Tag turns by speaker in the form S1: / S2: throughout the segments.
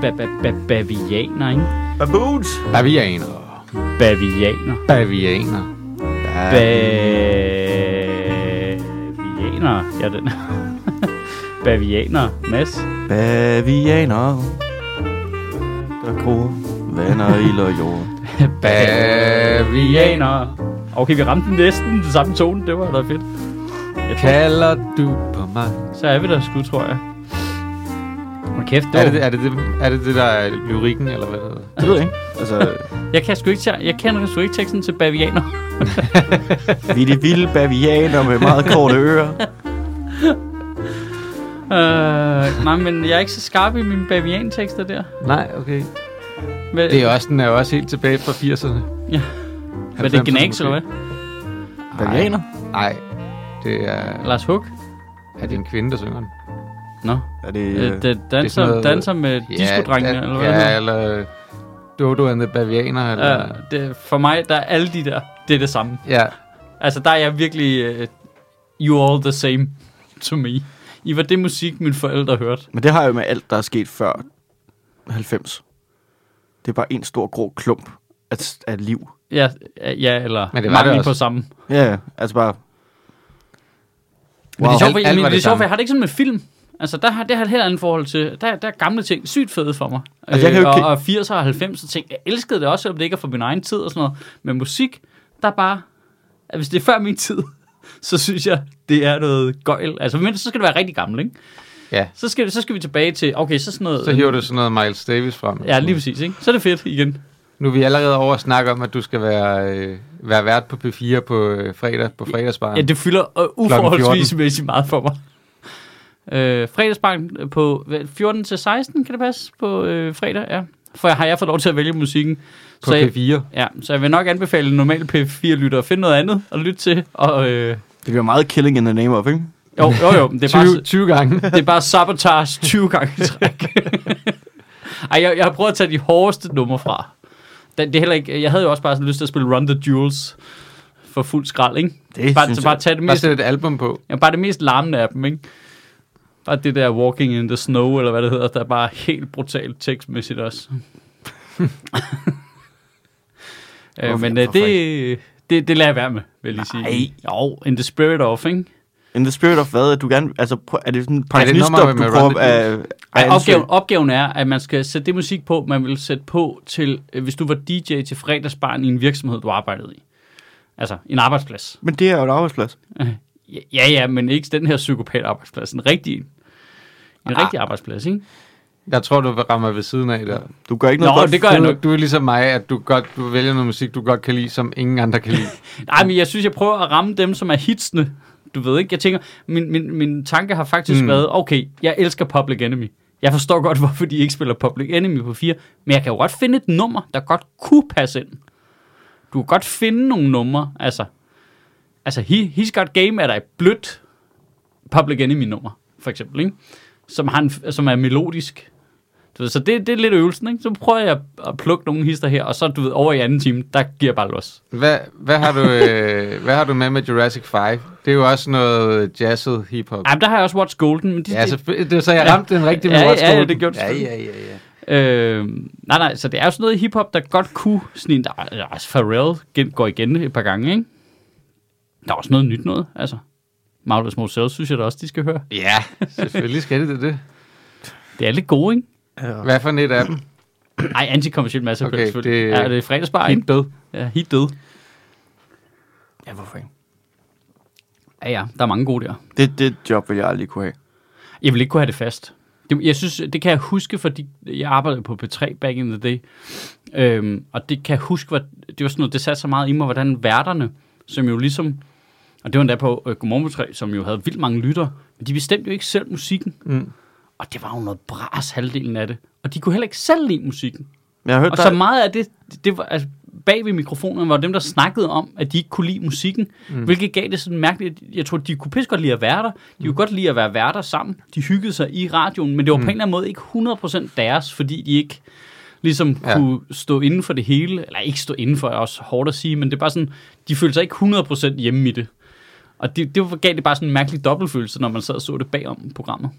S1: Ba- ba- ba- Bavianer, ikke?
S2: Baboons!
S3: Bavianer.
S1: Bavianer.
S3: Bavianer.
S1: Bavianer. Ja, den. Bavianer. Mads.
S2: Bavianer. Der gror vander i og jord.
S3: Bavianer.
S1: Okay, vi ramte den næsten den samme tone. Det var da fedt. Jeg tror,
S3: Kalder du på mig?
S1: så er vi der sgu, tror jeg. Hold kæft, det
S3: Er det,
S1: var-
S3: er, det det, er det det, der er lyrikken, eller hvad det hedder?
S2: Det ved jeg ikke. Altså,
S1: Jeg kan sgu ikke, te- jeg kender sgu ikke teksten til Bavianer.
S2: vi er de vilde bavianer med meget korte ører.
S1: Øh, nej, men jeg er ikke så skarp i mine baviantekster der.
S3: Nej, okay.
S1: Men,
S3: Det er også, den er jo også helt tilbage fra 80'erne.
S1: Ja. men det er Gnags, eller hvad?
S2: Bavianer?
S3: Nej, det er,
S1: Lars Hug?
S3: er det en kvinde, der synger den.
S1: Nå.
S2: Er det...
S1: Øh,
S2: Øh,
S1: det danser,
S3: sådan noget-
S1: danser med diskodrengene,
S3: ja,
S1: eller
S3: eller
S1: hvad det
S3: Ja,
S1: hedder.
S3: eller Dodo and the Bavianer, eller...
S1: Ja, det, for mig, der er alle de der, det er det samme.
S3: Ja,
S1: Altså, der er jeg virkelig, uh, you all the same to me. I var det musik, mine forældre hørte.
S2: Men det har jeg jo med alt, der er sket før 90. Det er bare en stor grå klump af, af liv.
S1: Ja, ja eller
S3: Men det var det
S1: mangel
S3: også.
S1: på samme.
S2: Ja, ja. Altså bare...
S1: Men det er
S3: Wow.
S1: sjovt, for,
S3: Alt- alt
S1: men
S3: var
S1: det er
S3: det
S1: sjovt, for
S3: samme.
S1: jeg har det ikke sådan med film. Altså, der har, det har jeg et helt andet forhold til. Der, der er gamle ting sygt fede for mig. Øh,
S2: Altså, jeg kan jo
S1: og,
S2: ikke-
S1: og 80'er og 90'er ting. Jeg elskede det også, selvom det ikke er for min egen tid og sådan noget. Men musik, der er bare... At hvis det er før min tid, så synes jeg, det er noget gøjl. Altså, men så skal det være rigtig gammel, ikke?
S3: ja.
S1: Så skal, så skal vi tilbage til... Okay, så sådan noget...
S3: Så hiver du sådan noget Miles Davis frem.
S1: Ja, lige præcis, ikke? Så er det fedt igen.
S3: Nu er vi allerede over at snakke om, at du skal være, øh, være vært på P4 på øh, fredag, på fredagsbaren.
S1: Ja, det fylder øh, uforholdsvis
S3: 14.
S1: mæssigt meget for mig. Øh, fredagsbanken på hvad, 14 til 16, kan det passe, på øh, fredag, ja. For jeg har jeg fået lov til at vælge musikken.
S3: på
S1: så, jeg,
S3: P4.
S1: ja, så jeg vil nok anbefale en normal P4-lytter at finde noget andet at lytte til. Og, øh,
S2: Det bliver meget killing in the name of, ikke?
S1: jo, jo, jo, men det er
S3: 20,
S1: bare,
S3: 20 gange.
S1: det er bare sabotage 20 gange i træk. Ej, jeg, jeg har prøvet at tage de hårdeste numre fra. Det, det er heller ikke, jeg havde jo også bare sådan lyst til at spille Run the Jewels for fuld skrald, ikke?
S2: Det
S1: Bare,
S2: synes
S1: så
S2: jeg-
S1: bare tage det
S3: Bare
S1: mest
S3: sætte et album på.
S1: Ja, bare det mest larmende af dem, ikke? Bare det der Walking in the Snow, eller hvad det hedder, der er bare helt brutalt tekstmæssigt også. øh, men øh, det, det, det lader jeg være med, vil jeg lige sige. Jo, in the spirit of, ikke?
S2: In the spirit of hvad? at Du gerne, altså, prøv, er det sådan en
S3: nummer
S2: pensionistdom, du
S3: med
S2: prøver
S3: Run the
S2: at...
S1: Ej,
S2: at
S1: opgaven, opgaven er, at man skal sætte det musik på, man vil sætte på til, øh, hvis du var DJ til fredagsbarn i en virksomhed, du arbejdede i. Altså, en arbejdsplads.
S2: Men det er jo en arbejdsplads.
S1: Ja, ja, men ikke den her psykopat arbejdsplads. En rigtig en. En
S3: Ah.
S1: rigtig arbejdsplads, ikke?
S3: Jeg tror, du rammer ved siden af der.
S2: Du gør ikke
S1: Nå,
S2: noget godt.
S1: det gør jeg
S3: Du,
S1: nok.
S3: du er ligesom mig, at du, godt, du vælger noget musik, du godt kan lide, som ingen andre kan lide.
S1: Nej, men jeg synes, jeg prøver at ramme dem, som er hitsene. Du ved ikke, jeg tænker, min, min, min tanke har faktisk mm. været, okay, jeg elsker Public Enemy. Jeg forstår godt, hvorfor de ikke spiller Public Enemy på 4, men jeg kan jo godt finde et nummer, der godt kunne passe ind. Du kan godt finde nogle numre, altså. Altså, He, He's Got Game er der et blødt Public Enemy-nummer, for eksempel, ikke? Som, har en, f- som er melodisk. Du ved, så det, det er lidt øvelsen, ikke? Så prøver jeg at plukke nogle hister her, og så, du ved, over i anden time, der giver jeg bare los.
S3: Hvad, hvad, har du, øh, hvad har du med med Jurassic 5? Det er jo også noget jazzet hiphop.
S1: Ej, men der har jeg også Watch Golden, men de,
S3: Ja, så, det, så jeg ramte den rigtige med
S1: Ja, ja,
S3: Watch
S1: ja,
S3: Golden.
S1: det gjorde du
S3: ja, ja, ja, ja.
S1: øh, nej, nej, så det er jo sådan noget i hiphop, der godt kunne snige en... der- Altså, Pharrell gen- går igen et par gange, ikke? Der er også noget nyt noget, altså. Marvelous Motel synes jeg da også, de skal høre.
S3: Ja, selvfølgelig skal det det, det.
S1: Det er lidt gode, ikke?
S3: Hvad for net af dem?
S1: Ej, antikommersiel masse
S3: Okay,
S1: okay, selvfølgelig.
S3: det-
S1: Det... Ja, det er fredagsbar, ikke?
S3: død.
S1: Ja, helt død.
S2: Ja, hvorfor ikke?
S1: Ja, ja, der er mange gode der.
S2: Det, det job vil jeg aldrig kunne have.
S1: Jeg vil ikke kunne have det fast. Det, jeg synes, det kan jeg huske, fordi jeg arbejdede på P3 back in the day. Øhm, og det kan jeg huske, hvor, det var sådan noget, det satte så meget i mig, hvordan værterne, som jo ligesom, og det var endda på øh, Godmorgen P3, som jo havde vildt mange lytter, men de bestemte jo ikke selv musikken. Mm. Og det var jo noget bras halvdelen af det. Og de kunne heller ikke selv lide musikken.
S2: Men jeg har hørt,
S1: Og
S2: der,
S1: så meget af det, det var, altså, bag ved mikrofonerne var dem, der snakkede om, at de ikke kunne lide musikken, mm. hvilket gav det sådan mærkeligt. Jeg tror, de kunne pisse godt lide at være der. De kunne godt lide at være Mm. værter sammen. De hyggede sig i radioen, men det var mm. på en eller anden måde ikke 100% deres, fordi de ikke ligesom ja.
S3: Ja.
S1: kunne stå inden for det hele, eller ikke stå inden for, er også hårdt at sige, men det er bare sådan, de følte sig ikke 100% hjemme i det. Og det, det gav det bare sådan en mærkelig dobbeltfølelse, når man sad og så det bagom programmet.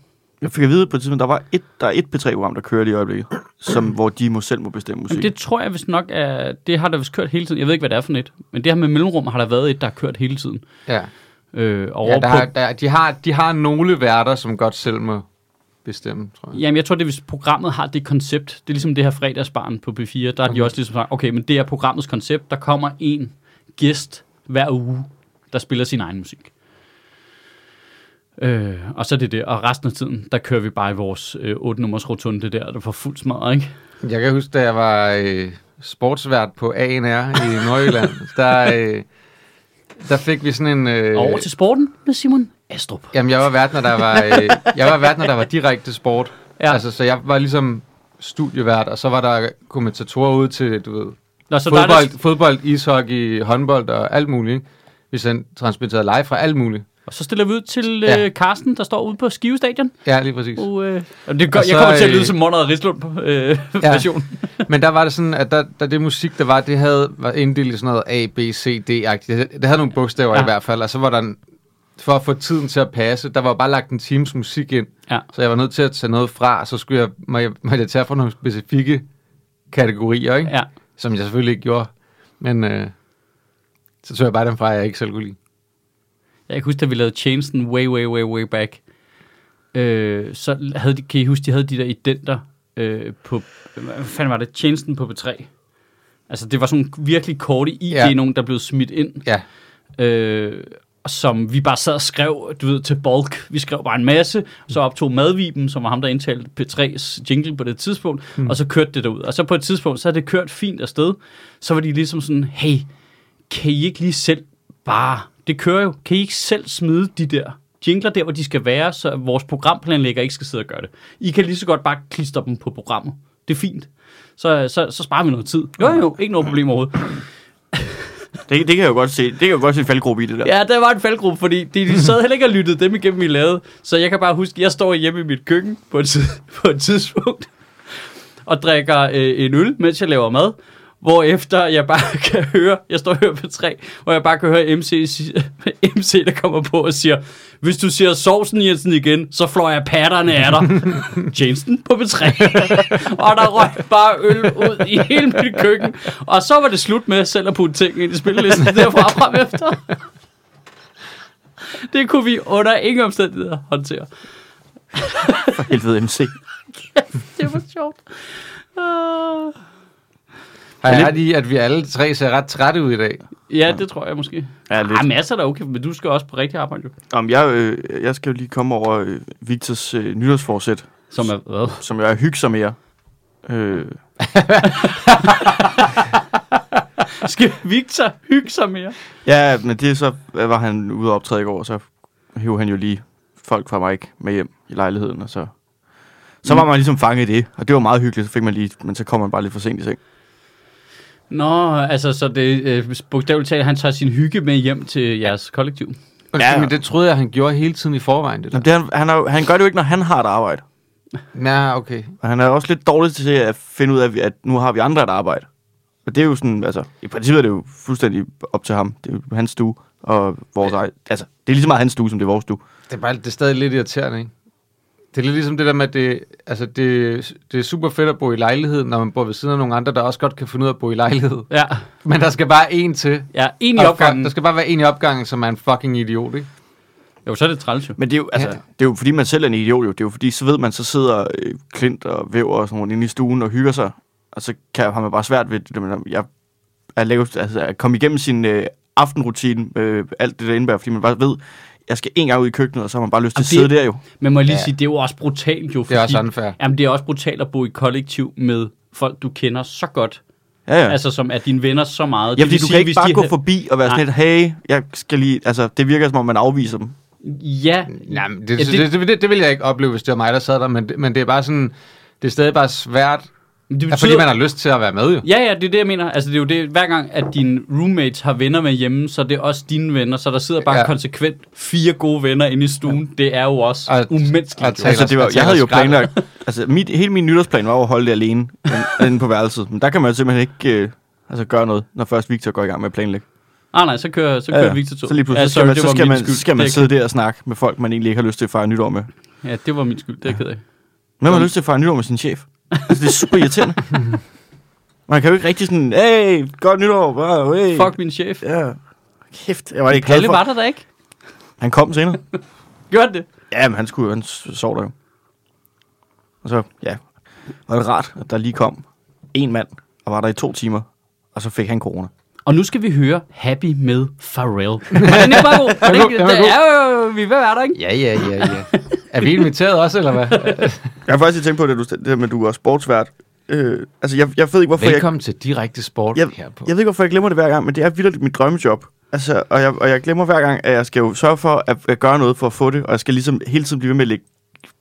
S2: Jeg fik at vide på et tidspunkt, der, var et, der er et P3-program, der kører lige i øjeblikket, som, hvor de må selv må bestemme musik.
S1: Jamen, det tror jeg vist nok, er, det har der vist kørt hele tiden. Jeg ved ikke, hvad det er for et, men det her med mellemrum har der været et, der har kørt hele tiden.
S3: Ja.
S1: Øh, over
S3: Ja, der,
S1: på,
S3: er- der, de, har, de har nogle værter, som godt selv må bestemme, tror jeg.
S1: Jamen, jeg tror, det er, hvis programmet har det koncept. Det er ligesom det her fredagsbarn på B4. Der er de også ligesom sagt, okay, men det er programmets koncept. Der kommer en gæst hver uge, der spiller sin egen musik. Øh, og så er det det. Og resten af tiden, der kører vi bare i vores øh, 8-nummers rotunde der, der får fuld smadret, ikke?
S3: Jeg kan huske, da jeg var øh, sportsvært på ANR i Nordjylland, der, øh, der fik vi sådan en... Øh,
S1: Og over til sporten med Simon Astrup.
S3: Jamen, jeg var vært, når der var, øh, jeg var, vært, når der var direkte sport.
S1: Ja.
S3: Ja. Altså, så jeg var ligesom studievært, og så var der kommentatorer ud til, du ved,
S1: Nå, så der er
S3: fodbold,
S1: det,
S3: fodbold, ishockey, håndbold og alt muligt. ikke? Vi sendte transmitteret live fra alt muligt.
S1: og så stiller vi ud til øh,
S3: Ja.
S1: Karsten, der står ude på Skive Stadion.
S3: Ja, lige præcis.
S1: Og, øh, og det gør,
S3: Og så,
S1: jeg kommer til at
S3: øh,
S1: lyde som Monrad Rislund øh,
S3: Ja.
S1: version.
S3: Men der var det sådan, at der, der det musik, der var, det havde var inddelt i sådan noget A, B, C, D-agtigt. Det, det havde nogle bogstaver
S1: Ja.
S3: ja. i hvert fald, og så var der en, for at få tiden til at passe, der var bare lagt en times musik ind,
S1: Ja.
S3: så jeg var nødt til at tage noget fra, og så skulle jeg, må jeg, må jeg tage fra nogle specifikke kategorier, ikke?
S1: Ja.
S3: som jeg selvfølgelig ikke gjorde, men øh, så tog jeg bare dem fra, jeg ikke selv kunne lide.
S1: Jeg kan huske, da vi lavede tjenesten way, way, way, way back, øh, så havde de, kan I huske, de havde de der identer øh, på, hvad fanden var det, tjenesten på B3. Altså, det var sådan nogle virkelig korte ID, ja.
S3: Ja.
S1: nogen der blev smidt ind,
S3: Ja,
S1: øh, som vi bare sad og skrev, du ved, til bulk. Vi skrev bare en masse, så optog Madviben, som var ham, der indtalte P3's jingle på det tidspunkt, mm. og så kørte det derud. Og så på et tidspunkt, så havde det kørt fint afsted. Så var de ligesom sådan, hey, kan I ikke lige selv bare, det kører jo, kan I ikke selv smide de der jingler der, hvor de skal være, så vores programplanlægger ikke skal sidde og gøre det. I kan lige så godt bare klistre dem på programmet. Det er fint. Så, så, så sparer vi noget tid. Jo, jo, ikke noget problem overhovedet.
S2: Det, det, kan jeg jo godt se. Det kan jeg jo godt se en faldgruppe i det der.
S1: Ja, der var en faldgruppe, fordi de, de sad heller ikke og lyttede dem igennem, vi lavede. Så jeg kan bare huske, jeg står hjemme i mit køkken på et, tid- på et tidspunkt og drikker øh, en øl, mens jeg laver mad. Hvor efter jeg bare kan høre, jeg står og hører på tre, hvor jeg bare kan høre MC, si- MC der kommer på og siger, hvis du siger sovsen Jensen igen, så flår jeg patterne af dig. Jensen på B3. og der røg bare øl ud i hele mit køkken. Og så var det slut med selv at putte ting ind i spillelisten derfra frem efter. Det kunne vi under ingen omstændigheder håndtere.
S2: For helvede MC.
S1: Det var sjovt. Uh,
S3: har jeg ret i, at vi alle tre ser ret trætte ud i dag?
S1: ja, det tror jeg måske.
S2: Ja,
S1: Ej, masser der er okay, men du skal også på rigtig arbejde, jo.
S2: Om jeg, øh, jeg skal jo lige komme over øh, Victors øh, nytårsforsæt,
S1: Som er hvad?
S2: som jeg er hyggelig med jer. Øh,
S1: Skal Victor hygge sig mere?
S2: ja, men det er så hvad var han ude og optræde i går, og så hævde han jo lige folk fra mig med hjem i lejligheden, og så... Så
S1: Mm.
S2: var man ligesom fanget i det, og det var meget hyggeligt, så fik man lige, men så kom man bare lidt for sent i seng.
S1: Nå, altså, så det øh, bogstaveligt talt, han tager sin hygge med hjem til jeres kollektiv.
S3: Undskyld,
S2: Ja.
S3: ja. men det troede jeg, han gjorde hele tiden i forvejen, det der.
S2: Jamen, det, er han, han, er, jo- han gør det jo ikke, når han har et arbejde.
S3: Nej, okay.
S2: Og han er også lidt dårlig til at finde ud af, at nu har vi andre et arbejde. Og det er jo sådan, altså, i princippet er det jo fuldstændig op til ham. Det er jo hans stue og vores egen. Altså, det er lige så meget hans stue, som det er vores stue.
S3: Det er, bare, det er stadig lidt irriterende, ikke? Det er lidt ligesom det der med, at det, altså det, det er super fedt at bo i lejlighed, når man bor ved siden af nogle andre, der også godt kan finde ud af at bo i lejlighed.
S1: Ja,
S3: Men der skal bare en til.
S1: ja en i opgangen.
S3: Der skal bare være en i opgangen, som er en fucking idiot, ikke?
S1: Jo, så er det træls, jo.
S2: Men det er jo, altså,
S3: Ja.
S2: ja. det er jo fordi, man selv er en idiot jo. Det er jo fordi, så ved man, så sidder øh, Klint og Væver og sådan noget inde i stuen og hygger sig. Og så kan, har man bare svært ved det. Men jeg er lavet, altså, at komme igennem sin øh, aftenrutine, øh, alt det der indebærer, fordi man bare ved, jeg skal en gang ud i køkkenet, og så har man bare lyst til at
S1: Jamen,
S2: sidde
S1: det-
S2: der jo.
S1: Men må jeg lige ja.
S3: Ja.
S1: sige, det er jo også brutalt, jo.
S3: Det er også unfair.
S1: Jamen, det er også brutalt at bo i kollektiv med folk, du kender så godt.
S2: Ja, ja.
S1: Ja. Altså, som er dine venner så meget. Det
S2: Ja, fordi
S1: vil
S2: du
S1: sige,
S2: kan ikke
S1: hvis
S2: bare
S1: de
S2: gå
S1: havde-
S2: forbi og være sådan lidt, hey, jeg skal lige... Altså, det virker som om, man afviser dem.
S1: Ja,
S3: Nej, men det,
S1: Ja,
S3: ja,
S1: det-
S3: det, det, det, det ville jeg ikke opleve, hvis det var mig, der sad der, men det, men det er bare sådan, det er stadig bare svært,
S1: men det
S3: ja, fordi man har lyst til at være med, jo.
S1: Ja, ja, det er det, jeg mener. Altså, det er jo det, hver gang, at dine roommates har venner med hjemme, så er det også dine venner, så der sidder bare ja.
S3: Ja.
S1: konsekvent fire gode venner inde i stuen. Det er jo også
S3: Og-
S1: umenneskeligt.
S3: og
S1: jo.
S3: taler-
S2: Altså, det var,
S3: jeg
S2: jeg havde jo
S3: taler
S2: planlagt, Altså, mit, hele min nytårsplan var jo at holde det alene øh, inde på værelset. Men der kan man jo simpelthen ikke øh, altså, gøre noget, når først Victor går i gang med at planlægge.
S1: Ah, nej, så kører, så kører ja, ja. Victor to.
S2: Så lige pludselig,
S1: ja,
S2: så skal
S1: sorry,
S2: man,
S1: det
S2: så
S1: var
S2: skal
S1: min
S2: man,
S1: skyld.
S2: så skal
S1: Det
S2: man
S1: er
S2: sidde der og snakke med folk, man egentlig ikke har lyst til at fejre nytår med.
S1: jeg- Ja, det var min skyld. Det er jeg ked af.
S2: Hvem har lyst til at fejre nytår med sin chef? Altså, det er super irriterende. Man kan jo ikke rigtig sådan, hey, godt nytår, bro, hey.
S1: Fuck min chef.
S2: Ja. Kæft, jeg var ikke glad
S1: Palle
S2: for.
S1: var der da ikke.
S2: Han kom senere.
S1: Gjorde det?
S2: Ja, men han skulle han s- sov der jo. Og så, ja, var det rart, at der lige kom en mand, og var der i to timer, og så fik han corona.
S1: Og nu skal vi høre Happy med Pharrell. Var den ikke bare god? Var
S3: Den
S1: det
S3: var
S1: ikke,
S3: god, den var
S1: der er jo, vi er ved at være der, ikke?
S3: Ja, ja, ja, ja. Er vi inviteret også, eller hvad?
S2: Jeg har faktisk lige tænkt på det, du, det her med, at du er sportsvært. Øh, altså, jeg, jeg ved ikke, hvorfor
S3: Velkommen til Direkte Sport
S2: jeg, jeg,
S3: her på.
S2: jeg ved ikke, hvorfor jeg glemmer det hver gang, men det er vildt mit drømmejob. Altså, og, jeg, og jeg glemmer hver gang, at jeg skal jo sørge for at, at gøre noget for at få det, og jeg skal ligesom hele tiden blive ved med at lægge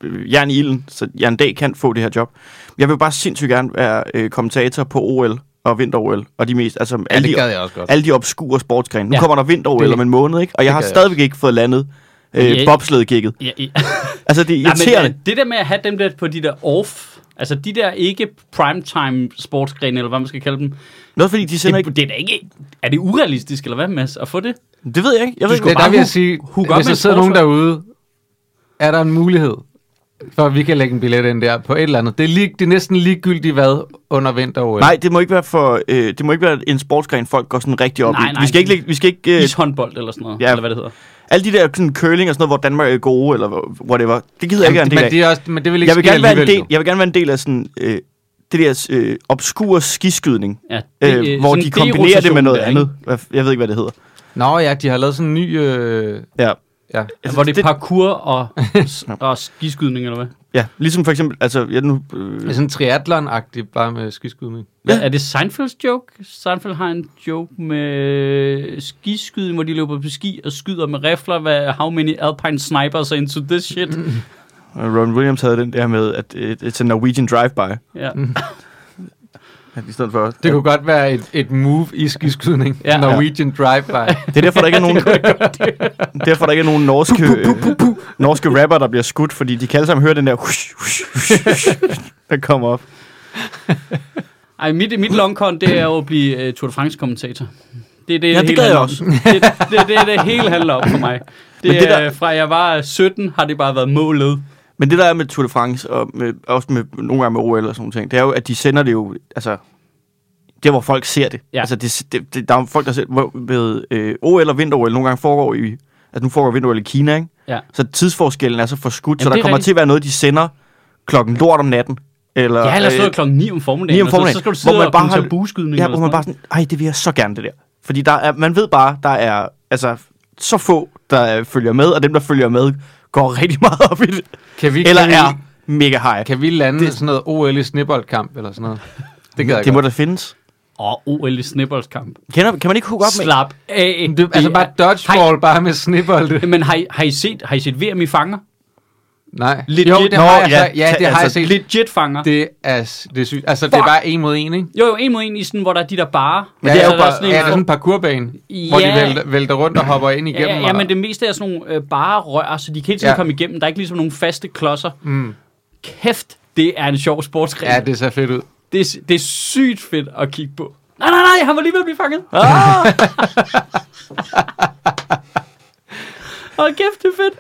S2: øh, jern i ilden, så jeg en dag kan få det her job. Jeg vil bare sindssygt gerne være øh, kommentator på OL og vinter-OL, og de mest, altså
S3: Ja,
S2: alle,
S3: det
S2: de,
S3: gad jeg også godt.
S2: alle de obskure sportsgrene. Nu
S1: Ja.
S2: ja. kommer der vinter-OL
S3: Det-
S2: om en måned, ikke? Og jeg har
S3: gad jeg
S2: stadigvæk ikke fået landet øh,
S1: Ja.
S2: bobsledgigget.
S1: Ja, ja.
S2: Altså, det er
S1: Nej,
S2: irriterende.
S1: men, øh, det der med at have dem der på de der off, altså de der ikke primetime sportsgrene, eller hvad man skal kalde dem,
S2: Noget fordi, de sender ikke...
S1: det, det er da ikke... Er det urealistisk, eller hvad, Mads, at få det?
S2: Det ved jeg ikke. Jeg ved ikke.
S3: Det er der,
S1: bare
S3: vil jeg
S1: hook-
S3: sige,
S1: hook op
S3: hvis
S1: med
S3: der
S1: en
S3: sidder nogen
S1: forsvar.
S3: derude, er der en mulighed for, at vi kan lægge en billet ind der på et eller andet. Det er, lige, det er næsten ligegyldigt, hvad under vinter -OL.
S2: Nej, det må ikke være for øh, det må ikke være en sportsgren folk går sådan rigtig op
S1: Nej,
S2: i.
S1: nej.
S2: vi skal ikke lægge- vi skal ikke øh,
S1: Ishåndbold eller sådan noget,
S2: Ja.
S1: eller hvad det hedder.
S2: alle de der sådan curling og sådan noget, hvor Danmark er gode eller whatever. Det gider jeg ikke være en del
S3: men,
S2: af.
S3: det er også, men
S1: ligesom
S3: det vil ikke
S2: Jeg vil
S3: ske
S2: gerne være en
S3: alligevel,
S2: del, jeg vil gerne være en del af sådan øh, det der øh, obskure skiskydning.
S1: Ja,
S2: Øh, hvor
S1: sådan
S2: de
S1: en
S2: kombinerer det med
S1: derotation
S2: noget
S1: der, ikke?
S2: andet. Hvad f- Jeg ved ikke, hvad det hedder.
S3: jo. Nå ja, de har lavet sådan en ny... Øh,
S2: Ja.
S3: ja.
S1: Ja, Altså, hvor det er
S2: det-
S1: parkour og, og skiskydning, eller hvad?
S2: Ja, ligesom for eksempel, altså, jeg nu, øh,
S3: Det er sådan triathlon-agtigt, bare med skiskydning.
S1: Hvad, er det Seinfelds joke? Seinfeld har en joke med øh, skiskydning, hvor de løber på ski og skyder med rifler. Hvad, how many alpine snipers are into this shit?
S2: Ron Williams havde den der med, at øh, it's a Norwegian drive-by.
S1: Ja.
S2: at I stedet for,
S3: Det kunne godt være et, et move i skiskydning.
S1: Ja.
S3: Ja. Norwegian Drive-By.
S2: Det er derfor, der ikke er nogen, derfor, der ikke er nogen norske, øh, norske rapper, der bliver skudt, fordi de kan alle sammen høre den der, hush, hush, hush, hush, der kommer op.
S1: Ej, mit, mit long con, det er jo at blive uh, Tour de France-kommentator. Det er det,
S2: Ja, det
S1: hele
S2: gad jeg
S1: handler om.
S2: også.
S1: Det, det, det, er det hele handler om for mig. Det,
S2: Men det
S1: er,
S2: der-
S1: Fra jeg var 17, har det bare været målet.
S2: Men det der er med Tour de France, og med, også med, nogle gange med OL og sådan nogle ting, det er jo, at de sender det jo, altså, der hvor folk ser det.
S1: Ja.
S2: Altså, det, det, det, der er jo folk, der ser, hvor, ved øh, OL og vinter-OL nogle gange foregår i, altså nu foregår vinter-OL i Kina, ikke?
S1: Ja.
S2: Så tidsforskellen er så forskudt,
S1: Jamen,
S2: så
S1: det er
S2: der kommer
S1: rigtigt.
S2: til at være noget, de sender klokken lort om natten. Eller,
S1: Jeg har ellers
S2: øh,
S1: stået klokken 9 om formiddagen,
S2: 9 om
S1: og så-
S2: formiddagen,
S1: så, skal du
S2: hvor
S1: sidde
S2: man
S1: og
S2: bare
S1: kommentere
S2: har-
S1: bueskydning.
S2: Ja,
S1: eller
S2: hvor man
S1: sådan
S2: bare sådan, ej, det vil jeg så gerne, det der. Fordi der er, man ved bare, der er altså, så få, der øh, følger med, og dem, der følger med, går rigtig meget op i det.
S3: Kan vi,
S2: Eller
S3: kan vi,
S2: er mega high.
S3: Kan vi lande
S2: Det-
S3: det, sådan noget OL i snibboldkamp eller sådan noget? Det gad jeg
S2: Det må
S3: godt.
S2: der findes.
S1: noget. Og OL i snibboldskamp.
S2: Kender, kan man ikke hook op med...
S1: Slap af.
S3: Det, altså
S1: er-
S3: bare dodgeball, bare med snibbold.
S1: Men har I, har I, set, har I set VM i fanger?
S3: Nej.
S1: Legit.
S3: Jo, det
S1: Nå,
S3: har jeg,
S2: ja,
S3: så- ja,
S2: ta-
S3: det har jeg
S2: altså,
S3: set.
S1: Legit fanger. Det.
S3: Det er, s- det er sygt. Altså, det er
S1: Fuck.
S3: bare en mod en, ikke?
S1: Jo, jo, en mod en i sådan, hvor der er de der bare. Altså,
S3: Men ja, det er jo
S1: der
S3: bare
S1: sådan en-
S3: ja, det er sådan en parkourbane, ja. hvor de
S1: Ja.
S3: vælter, vælter rundt og hopper ind igennem.
S1: ja, ja, ja,
S3: og-
S1: men det meste er sådan nogle øh, bare rør, så de kan hele tiden ja.
S3: Ja.
S1: komme igennem. Der er ikke ligesom nogle faste klodser. Mm. Kæft, det er en sjov sportsgren.
S3: ja,
S1: Ja, det...
S3: det ser fedt ud.
S1: Det, er, det er sygt fedt at kigge på. Nej, nej, nej, han var lige ved at blive fanget. Ah! Hold kæft, det er fedt.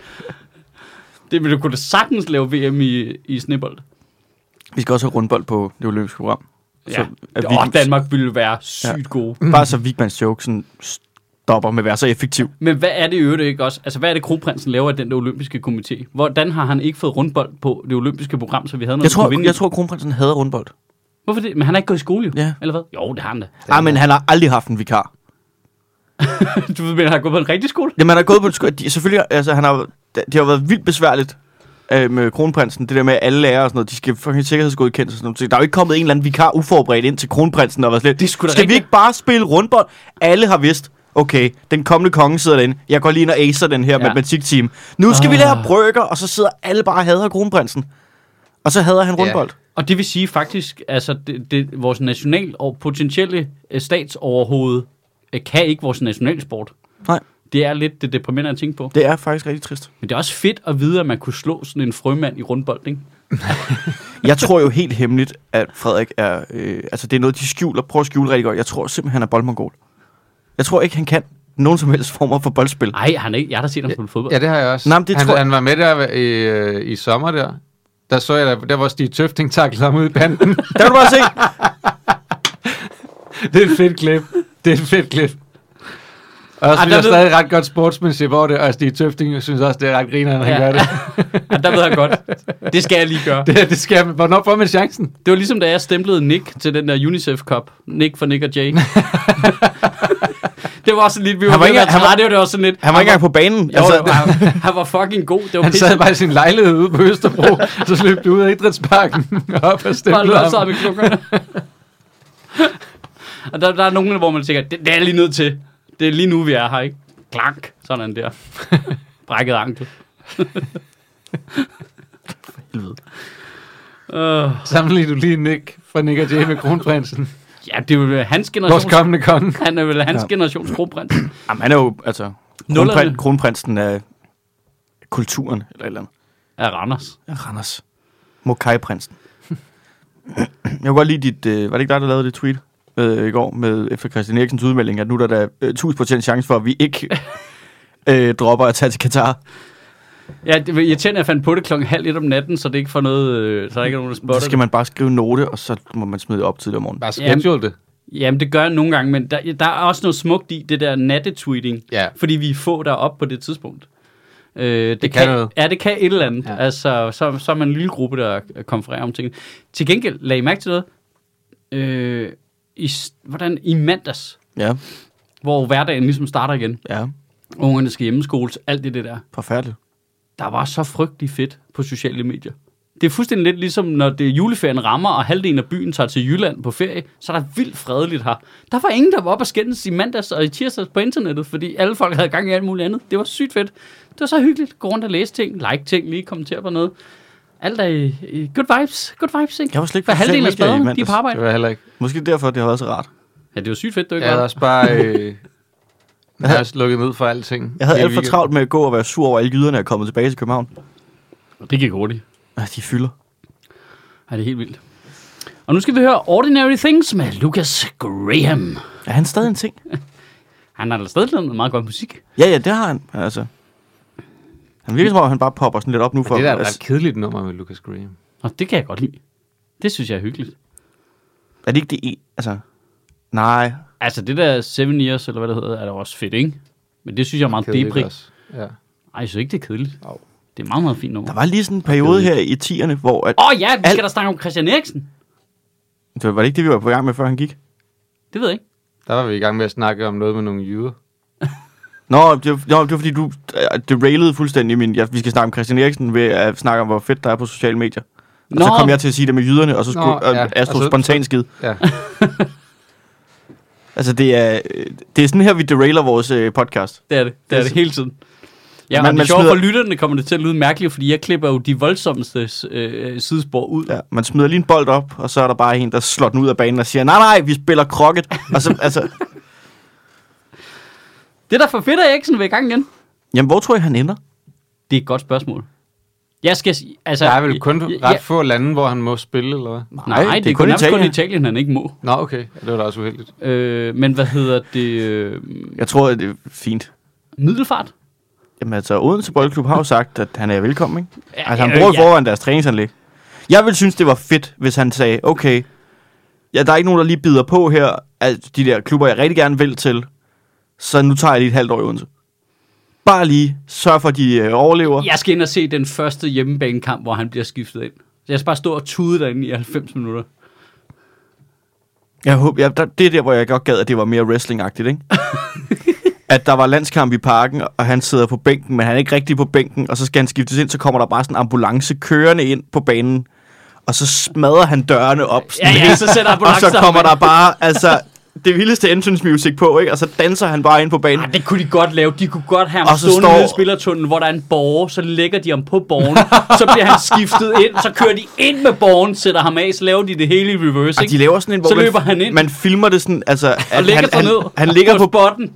S1: Det ville du kunne da sagtens lave VM i, i snebold.
S2: Vi skal også have rundbold på det olympiske program.
S1: Ja.
S2: Så, at
S1: Åh,
S2: vi,
S1: Danmark ville være sygt ja. gode.
S2: Bare så Vigmans joke sådan, stopper med at være så effektiv.
S1: Men hvad er det i øvrigt ikke også? Altså, hvad er det, kronprinsen laver i den der olympiske komité? Hvordan har han ikke fået rundbold på det olympiske program, så vi havde noget,
S2: Jeg
S1: vi kunne
S2: tror,
S1: vinde?
S2: jeg tror kronprinsen havde rundbold.
S1: Hvorfor det? Men han har ikke gået i skole, jo.
S2: Ja.
S1: Eller hvad? Jo, det har han da.
S2: Ah, men han har aldrig haft en vikar.
S1: du ved, men han har gået på en rigtig skole?
S2: Jamen, han har gået på en skole. De, selvfølgelig, altså, han har, det har været vildt besværligt øh, med kronprinsen. Det der med, at alle lærere og sådan noget, de skal fucking sikkerhedsgodkendes og sådan noget. Så Der er jo ikke kommet en eller anden vikar uforberedt ind til kronprinsen og var slet.
S1: Det er sgu da
S2: skal vi
S1: rigtigt.
S2: ikke bare spille rundbold? Alle har vidst, okay, den kommende konge sidder derinde. Jeg går lige ind og acer den her ja. matematikteam. Nu
S1: Ah.
S2: skal oh. vi lære brøker, og så sidder alle bare og hader kronprinsen. Og så hader han
S3: Ja.
S2: rundbold.
S1: Og det vil sige faktisk, altså, det, det, vores national og potentielle øh, statsoverhoved øh, kan ikke vores nationalsport.
S2: Nej,
S1: Det er lidt det deprimerende at tænke på.
S2: det er faktisk rigtig trist.
S1: Men det er også fedt at vide, at man kunne slå sådan en frømand i rundbold, ikke?
S2: jeg tror jo helt hemmeligt, at Frederik er... Øh, altså, det er noget, de skjuler. Prøver at skjule rigtig godt. Jeg tror simpelthen, han er boldmongol. Jeg tror ikke, han kan nogen som helst former for boldspil.
S1: Nej, han er ikke. Jeg har da set ham spille fodbold.
S3: Ja, det har jeg også.
S2: Nå, men det
S3: han,
S2: tror jeg-
S3: han var med der i, øh, i sommer der. Der så jeg, der, der var Stig Tøfting taklede ham ud i banden.
S2: Der kan du bare se.
S3: det er et fedt klip. Det er et fedt klip. Og jeg
S1: Ej,
S3: synes,
S1: der
S3: der er
S1: ved-
S3: stadig ret godt sportsmanship over det, og Stig Tøfting synes også, det er ret griner, når han
S1: Ja.
S3: gør det.
S1: Ja, der ved jeg godt. Det skal jeg lige gøre.
S3: det. Det skal man. Hvornår får man chancen?
S1: Det var ligesom, da jeg stemplede Nick til den der UNICEF Cup. Nick for Nick og Jay. det var også lidt... Vi var,
S2: Han var
S1: ved
S2: ikke-
S1: at være
S2: han var-
S1: trætte, og det var også sådan lidt...
S2: Han var ikke engang på banen.
S1: Jo, altså,
S2: Altså,
S1: han, han var fucking god. Det var
S3: Han
S1: pisse.
S3: sad bare i sin lejlighed ude på Østerbro, så sløb du ud af idrætsparken og op og
S1: Bare
S3: stemplede
S1: lå sig
S3: ham.
S1: med klukkerne. og der, der er nogen, hvor man tænker, det, det er jeg lige nødt til. Det er lige nu, vi er her, ikke? Klank. Sådan der. Brækket ankel.
S2: helvede.
S1: Uh,
S3: Sammenligner du lige Nick fra Nick og Jay med kronprinsen.
S1: ja, det er jo hans
S3: Vores
S1: generations...
S3: kommende konge.
S1: Han er vel hans
S2: Ja.
S1: generations kronprins.
S2: Jamen, han er jo, altså...
S1: Nullerne.
S2: Kronprin, kronprinsen af kulturen, eller et eller andet.
S1: Ja, Randers.
S2: Randers. Mokai-prinsen. Jeg kunne godt lide dit... Øh, var det ikke dig, der lavede det tweet øh, i går med, efter Christian Eriksens udmelding, at nu er der da øh, 1000% chance for, at vi ikke øh, dropper at tage til Katar.
S1: Ja, det var irriterende, at jeg fandt på det klokken halv et om natten, så det ikke får noget, øh, så der ikke er nogen, der spotter
S2: Så skal man bare skrive en note, og så må man smide det op tidligere om morgenen.
S3: Bare
S1: schedule
S3: schedule det.
S1: det. Jamen, det gør jeg nogle gange, men der, der er også noget smukt i det der nattetweeting,
S3: Ja.
S1: fordi vi er få, der er oppe på det tidspunkt. Øh, det, det
S3: kan noget.
S1: Ja, det kan et eller andet. Ja.
S3: Ja.
S1: Altså, så, så er man en lille gruppe, der konfererer om tingene. Til gengæld, lag I mærke til noget. Øh, i, s- hvordan, I mandags,
S2: Ja,
S1: hvor hverdagen ligesom starter igen.
S2: ja.
S1: Ungerne skal hjemmeskoles, alt det, det der.
S2: Forfærdeligt.
S1: der var så frygtelig fedt på sociale medier. Det er fuldstændig lidt ligesom, når det juleferien rammer, og halvdelen af byen tager til Jylland på ferie, så er der vildt fredeligt her. Der var ingen, der var oppe og skændes i mandags og i tirsdags på internettet, fordi alle folk havde gang i alt muligt andet. Det var sygt fedt. Det var så hyggeligt. Gå rundt og læse ting, like ting, lige kommentere på noget. Alt er i, i good vibes. Good vibes, ikke?
S2: Jeg var slet ikke
S1: For
S2: på sociale
S1: halvdelen af
S2: medier i
S1: spaderne, de er
S2: mandags.
S1: på
S3: Det
S1: arbejde.
S3: var heller ikke.
S2: Måske derfor, det har været så rart.
S1: Ja, det var sygt fedt, du ikke
S3: Jeg havde
S1: var.
S3: også bare... Øh, jeg havde også lukket ned for alting.
S2: Jeg havde
S3: hele
S2: alt for
S3: weekenden.
S2: travlt med at gå og være sur over, at alle jyderne er kommet tilbage til København.
S1: der. Det gik hurtigt.
S2: Ah, De fylder.
S1: Ja, det er helt vildt. Og nu skal vi høre Ordinary Things med Lucas Graham.
S2: Er han stadig en ting?
S1: Han har da stadig lavet noget meget godt musik.
S2: Ja, ja, det har han. Men Altså, han virker som om, han bare popper sådan lidt op nu. For,
S3: Men Det der er et
S2: altså,
S3: ret kedeligt nummer med Lucas Graham.
S1: Nå, det kan jeg godt lide. Det synes jeg er hyggeligt.
S2: er det ikke det en? Altså, nej.
S1: Altså, det der Seven Years, eller hvad det hedder, er da også fedt, ikke? Men det synes jeg er meget debri.
S3: også. Ja.
S1: Ej, jeg synes ikke, det er kedeligt.
S3: Au.
S1: Det er meget, meget fint nummer.
S2: Der
S1: Åh
S2: var lige sådan en periode her i 10'erne, hvor... At,
S1: oh, ja, vi skal
S2: Al-
S1: da snakke om Christian Eriksen.
S2: det var- var det ikke det, vi var på gang med, før han gik?
S1: Det ved jeg ikke.
S3: Der var vi i gang med at snakke om noget med nogle jyder.
S2: Nå, det var, nå, det var fordi, du øh, det railede fuldstændig min... Ja, vi skal snakke om Christian Eriksen ved at snakke om, hvor fedt der er på sociale medier. Og så
S1: Nå.
S2: kom jeg til at sige det med jyderne, og så skulle
S3: Nå,
S2: Nå, ja.
S3: ja.
S2: Astro
S3: Og så-
S2: spontant skid.
S3: Ja.
S2: Altså, det er, øh, det er sådan her, vi derailer vores øh, podcast.
S1: Det er det. Det er det hele tiden. Ja,
S2: Man-
S1: men
S2: man
S1: det sjove
S2: smider-
S1: for lytterne kommer det til at lyde mærkeligt, fordi jeg klipper jo de voldsomste øh, sidespor ud. Ja.
S2: Ja, man smider lige en bold op, og så er der bare en, der slår den ud af banen og siger, nej, nej, vi spiller krokket. og så, altså,
S1: Det der for fedt, at Eriksen vil i gang igen.
S2: jamen, hvor tror jeg, han ender?
S1: Det er et godt spørgsmål. Jeg skal... sige- Altså,
S3: Der er vel kun
S1: jeg-
S3: ret få lande, hvor han må spille, eller hvad?
S1: Nej, det er, det er kun, Italien. kun Italien, han ikke må.
S3: Nå, okay. Ja, Det var da også uheldigt.
S1: Øh, men hvad hedder det? Øh,
S2: Jeg tror, at det er fint.
S1: middelfart?
S2: Jamen altså, Odense Boldklub har jo sagt, at han er velkommen, ikke?
S1: Ja,
S2: Altså, han
S1: øh,
S2: bruger
S1: ja.
S2: ja. foran deres træningsanlæg. Jeg ville synes, det var fedt, hvis han sagde, okay, ja, der er ikke nogen, der lige bider på her, altså, de der klubber, jeg rigtig gerne vil til, så nu tager jeg lige et halvt år i Odense. Bare lige sørg for, at de øh, overlever. Ja.
S1: Jeg skal ind og se den første hjemmebanekamp, hvor han bliver skiftet ind. Så jeg skal bare stå og tude derinde i 90 minutter.
S2: Jeg håber, ja, der, det er der, hvor jeg godt gad, at det var mere wrestling-agtigt, ikke? at der var landskamp i parken, og han sidder på bænken, men han er ikke rigtig på bænken, og så skal han skiftes ind, så kommer der bare sådan en ambulance kørende ind på banen, og så smadrer han dørene op.
S1: Ja,
S2: Sådan
S1: ja, så sætter
S2: Og
S1: ambulancer.
S2: så kommer der bare, altså, det vildeste entrance music på, ikke? Og så danser han bare ind på banen.
S1: Ah, det kunne de godt lave. De kunne godt have ham
S2: Og så
S1: stående
S2: står-
S1: står... i spillertunnelen, hvor der er en borger, så lægger de ham på borgen, så bliver han skiftet ind, så kører de ind med borgen, sætter ham af, så laver de det hele i reverse,
S2: Og
S1: ikke?
S2: de laver sådan en, hvor
S1: Så
S2: man,
S1: løber han ind.
S2: man filmer det sådan, altså,
S1: og
S2: at
S1: ligger
S2: han,
S1: sig
S2: han,
S1: ned
S2: han, ligger på,
S1: botten.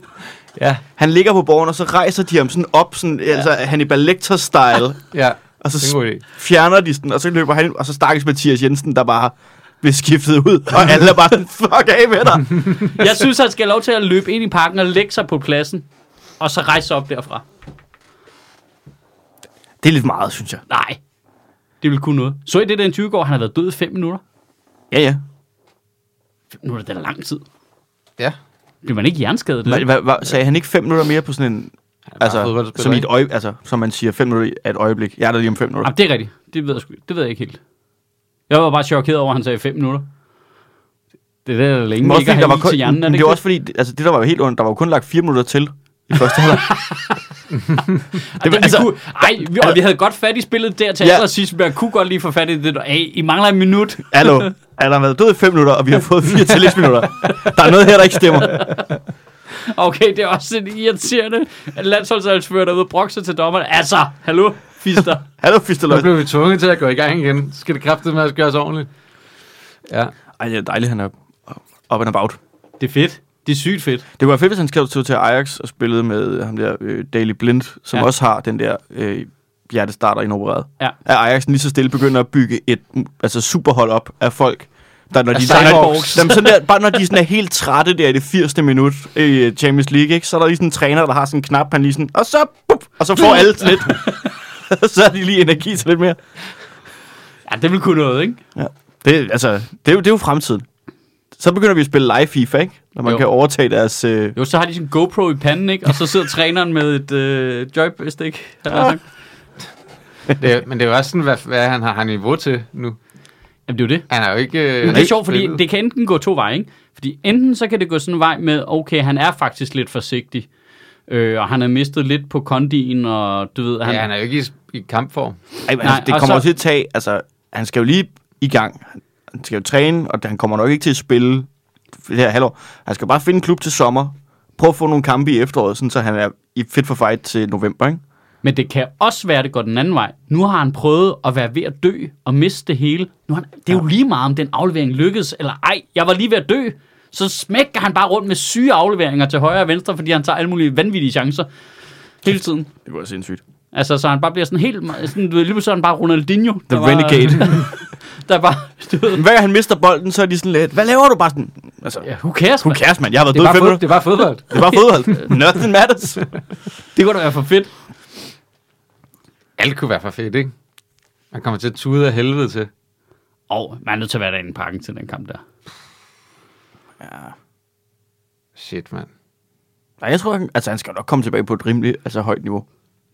S3: Ja.
S2: han ligger på borgen, og så rejser de ham sådan op, sådan, ja. altså Hannibal Lecter-style.
S3: Ja.
S2: Og så
S3: Det er en god idé.
S2: s- fjerner de sådan, og så løber han ind, og så stakkes Mathias Jensen, der bare bliver skiftet ud, og alle er bare sådan, fuck af med dig.
S1: Jeg synes, han skal have lov til at løbe ind i parken og lægge sig på pladsen, og så rejse sig op derfra.
S2: Det er lidt meget, synes jeg.
S1: Nej, det vil kunne noget. Så I det der interview i går, han har været død i 5 minutter?
S2: Ja, ja.
S1: 5 minutter, det er da lang tid.
S3: Ja.
S1: Bliver man ikke hjerneskadet?
S2: Hva,
S1: Eller?
S2: hva, hva, sagde han ikke fem minutter mere på sådan en... Altså,
S3: fodboldspiller,
S2: som, i et
S3: ikke?
S2: øje, altså, som man siger, fem minutter er et øjeblik. Jeg er der lige om fem minutter.
S1: Jamen, det er rigtigt. Det ved, jeg sgu, det ved jeg ikke helt. Jeg var bare chokeret over, at han sagde 5 minutter. Det er da
S2: Men
S1: længe
S2: også
S1: ikke at
S2: fordi,
S1: have
S2: der var
S1: var
S2: kun,
S1: til hjernen, er
S2: men
S1: det,
S2: det var også fordi, altså, det der var jo helt ondt, der var jo kun lagt fire minutter til i første halvleg.
S1: det, var,
S2: altså-
S1: altså, kunne, ej, vi, og vi havde godt fat i spillet der til
S2: Ja.
S1: ja. allersidst, men jeg kunne godt lige få fat i det. der, Hey, I mangler en minut.
S2: Hallo, er der været død i fem minutter, og vi har fået fire tillægsminutter. Der er noget her, der ikke stemmer.
S1: Okay, det er også en irriterende at landsholdsadelsfører, der er ude og brokke sig til dommerne. Altså, hallo, fister.
S2: Hallo,
S3: Nu
S2: Fisteløj.
S3: blev vi tvunget til at gå i gang igen. Så Skal det kræfte med at gøres ordentligt? Ja.
S2: Ej, det er dejligt, han er up and about.
S1: det er fedt. Det er sygt fedt.
S2: Det kunne være fedt, hvis han skrev til Ajax og spillede med ham der øh, Daily Blind, som
S1: Ja.
S2: ja. også har den der øh, hjertestarter inopereret.
S1: Ja.
S2: At Ajax lige så stille begynder at bygge et mm, altså superhold op af folk, der når de,
S1: Af
S2: der, når,
S1: cyborgs.
S2: jamen, sådan der, bare når de sådan er helt trætte der i det 80. minut i øh, Champions League, ikke? så er der lige sådan en træner, der har sådan en knap, han lige sådan, og så, bup, og så får alle sådan lidt. så er de lige energi til lidt mere.
S1: Ja, det vil kunne noget, ikke?
S2: Ja. Det, altså, det, er jo, det er jo fremtiden. Så begynder vi at spille live FIFA, ikke? Når man
S1: Jo.
S2: jo. kan overtage deres... Øh,
S1: Jo, så har de sådan en GoPro i panden, ikke? Og så sidder træneren med et øh, joystick. har jeg sagt.
S3: Det, er- men det er jo også sådan, hvad, hvad han har, har niveau til nu.
S1: Jamen, det er jo det.
S3: Han er jo ikke... øh,
S1: Men det er sjovt, fordi det kan enten gå to veje, ikke? Fordi enten så kan det gå sådan en vej med, okay, han er faktisk lidt forsigtig, øh, og han har mistet lidt på kondien, og du ved, han...
S3: Han, ja, han er jo ikke i, i kampform.
S2: ej, men
S1: Nej,
S2: altså, det
S1: og
S2: kommer
S1: så-
S2: også til at tage... Altså, han skal jo lige i gang. Han skal jo træne, og han kommer nok ikke til at spille det her halvår. Han skal bare finde en klub til sommer. Prøv at få nogle kampe i efteråret, sådan, så han er i fit for fight til november, ikke?
S1: Men det kan også være, at det går den anden vej. Nu har han prøvet at være ved at dø og miste det hele. Nu har han, det er jo lige meget, om den aflevering lykkedes eller ej. Jeg var lige ved at dø. Så smækker han bare rundt med syge afleveringer til højre og venstre, fordi han tager alle mulige vanvittige chancer hele tiden.
S2: Det var sindssygt.
S1: Altså, så han bare bliver sådan helt... meget- Sådan, du ved, lige pludselig er han bare Ronaldinho.
S2: The
S1: der var-
S2: Renegade.
S1: Der bare... Du ved,
S2: Men hver gang han mister bolden, så er de sådan lidt... Hvad laver du bare sådan? Altså,
S1: ja, who cares,
S2: who
S1: man?
S2: cares, mand? Jeg har været
S3: Det er,
S2: død i
S3: bare
S2: fem
S3: fod,
S2: minutter.
S3: det er bare fodbold.
S2: Det var fodbold. Nothing matters.
S1: Det kunne da være for fedt.
S3: Alt kunne være for fedt, ikke? Han kommer til at tude af helvede til.
S1: Og man er nødt til at være derinde i parken til den kamp der.
S3: Shit, mand.
S2: Nej, jeg tror, han, altså, han skal nok komme tilbage på et rimeligt altså, højt niveau.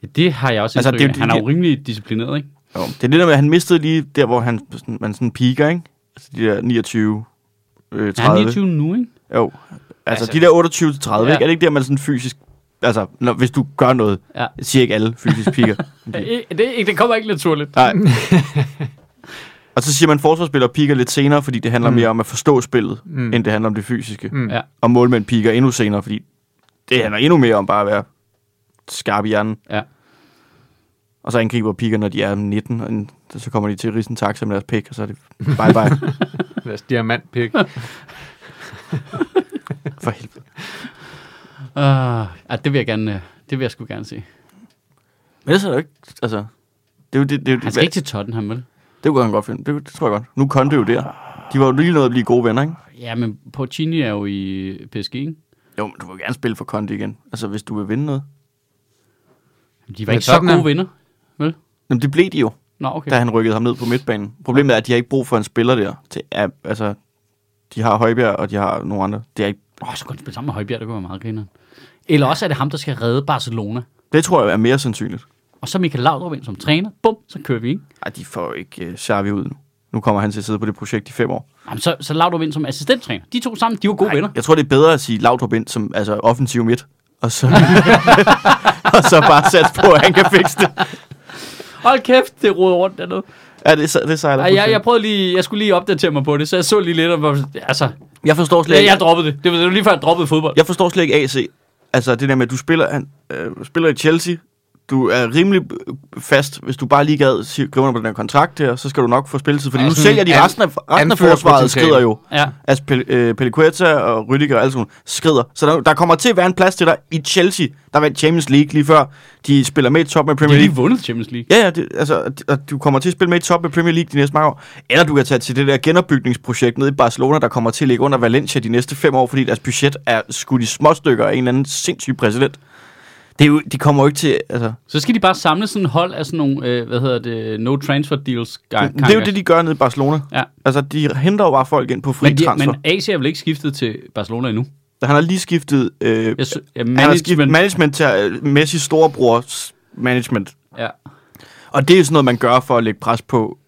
S1: Ja, det har jeg også
S2: Altså,
S1: altså,
S2: det er jo
S1: det,
S2: de-
S1: Han er jo rimelig disciplineret, ikke?
S2: Jo, det er det der med, at han mistede lige der, hvor han, sådan, man sådan piker, ikke? Altså de der 29, øh,
S1: Er han
S2: 30.
S1: 29 nu, ikke?
S2: Jo, altså,
S3: Altså-
S2: altså de der 28 til 30,
S1: Ja.
S2: ja. ikke? Er det ikke der, man sådan fysisk... Altså, når, hvis du gør noget,
S1: Ja. Øh,
S2: ja. siger ikke alle fysisk piker.
S1: Det, det, er ikke- det kommer ikke naturligt.
S2: Nej. Og så siger man, at forsvarsspillere piker lidt senere, fordi det handler mm. mere om at forstå spillet, mm. end det handler om det fysiske.
S3: Mm.
S2: Mm.
S1: Ja.
S2: Og målmænd piker endnu senere, fordi det handler endnu mere om bare at være skarp i hjernen.
S1: Ja.
S2: Og så angriber piger, når de er 19, og en- så kommer de til at rige en taxa med deres pik, og så er det bye bye.
S3: Deres diamantpik.
S2: For helvede.
S1: Uh, ja, det vil jeg gerne, øh, det vil jeg sgu gerne se.
S2: Men ellers er det jo ikke, altså... Det er jo det, det, er jo
S1: Han
S2: det,
S1: skal ikke
S2: det,
S1: til Tottenham, vel?
S2: det kunne han godt finde. Det, det tror jeg godt. Nu kom det jo der. De var jo lige nået at blive gode venner, ikke?
S1: Ja, men Porcini er jo i PSG, ikke?
S2: Jo, men du vil gerne spille for Conte igen. Altså, hvis du vil vinde noget.
S1: De var
S3: Men
S1: ikke så
S3: Tottenham-
S1: gode venner, vel?
S2: Jamen, det blev de jo,
S1: Nå,
S2: okay.
S1: okay.
S2: da han rykkede ham ned på midtbanen. Problemet er, at de har ikke brug for en spiller der. Til, ja, altså, de har Højbjerg, og de har nogle andre. Det, er ikke,
S1: Åh, oh, så kunne han spille sammen med Højbjerg, det kunne være meget griner. Eller også er det ham, der skal redde Barcelona.
S2: det tror jeg er mere sandsynligt.
S1: Og så Michael Laudrup ind som træner. Bum, så kører vi, ikke?
S2: Ej, de får jo ikke uh, Xavi ud nu. Nu kommer han til at sidde på det projekt i fem år.
S1: Jamen, så, så Laudrup ind som assistenttræner. De to sammen, de var gode Ej, venner.
S2: Jeg tror, det er bedre at sige Laudrup ind som altså, offensiv midt, og så, og så bare satse på, at han kan fikse det.
S1: Hold kæft, det roder rundt dernede.
S2: Ja, det, det sejler
S1: Ej, jeg,
S2: fuldstændig.
S1: jeg, prøvede lige, jeg skulle lige opdatere mig på det, så jeg så lige lidt, og var- altså,
S2: jeg, forstår slet
S1: jeg,
S2: ikke,
S1: jeg droppede det. Det var, det var lige før, jeg droppede fodbold.
S2: jeg forstår slet ikke AC. Altså det der med, at du spiller, han, øh, spiller i Chelsea, du er rimelig fast, hvis du bare lige gad sige- skrive under på den her kontrakt her, så skal du nok få spilletid, fordi
S3: Ja,
S2: nu
S3: sådan
S2: sælger de
S3: an-
S2: resten af, resten af
S3: anfører
S2: forsvaret
S3: potentiale.
S2: skrider jo.
S1: Ja.
S2: Altså Pel, øh, Pelicueta og Rydiger og alt sådan nogle skrider. Så der, der kommer til at være en plads til dig i Chelsea, der vandt Champions League lige før. De spiller med i top med
S1: De
S2: Premier
S1: har
S2: League.
S1: lige vundet Champions League.
S2: Ja, ja, det, altså, at- at du kommer til at spille med i top med Premier League de næste mange år. Eller du kan tage til det der genopbygningsprojekt nede i Barcelona, der kommer til at ligge under Valencia de næste fem år, fordi deres budget er skudt i småstykker af en eller anden sindssyg præsident. Det, er jo, det kommer jo ikke til... Altså,
S1: Så skal de bare samle sådan en hold af sådan nogle, øh, hvad hedder det, no transfer deals.
S2: det, det er jo det, de gør nede i Barcelona.
S1: Ja.
S2: Altså, de henter jo bare folk ind på fri
S1: men,
S2: men,
S1: de,
S2: transfer.
S1: men AC er vel ikke skiftet til Barcelona endnu?
S2: Men, Han har lige skiftet... Øh,
S1: Jeg sy- ja,
S2: han har skiftet
S1: management.
S2: management til øh, Messi's storebrors management.
S1: ja.
S2: Og det er sådan noget, man gør for at lægge pres på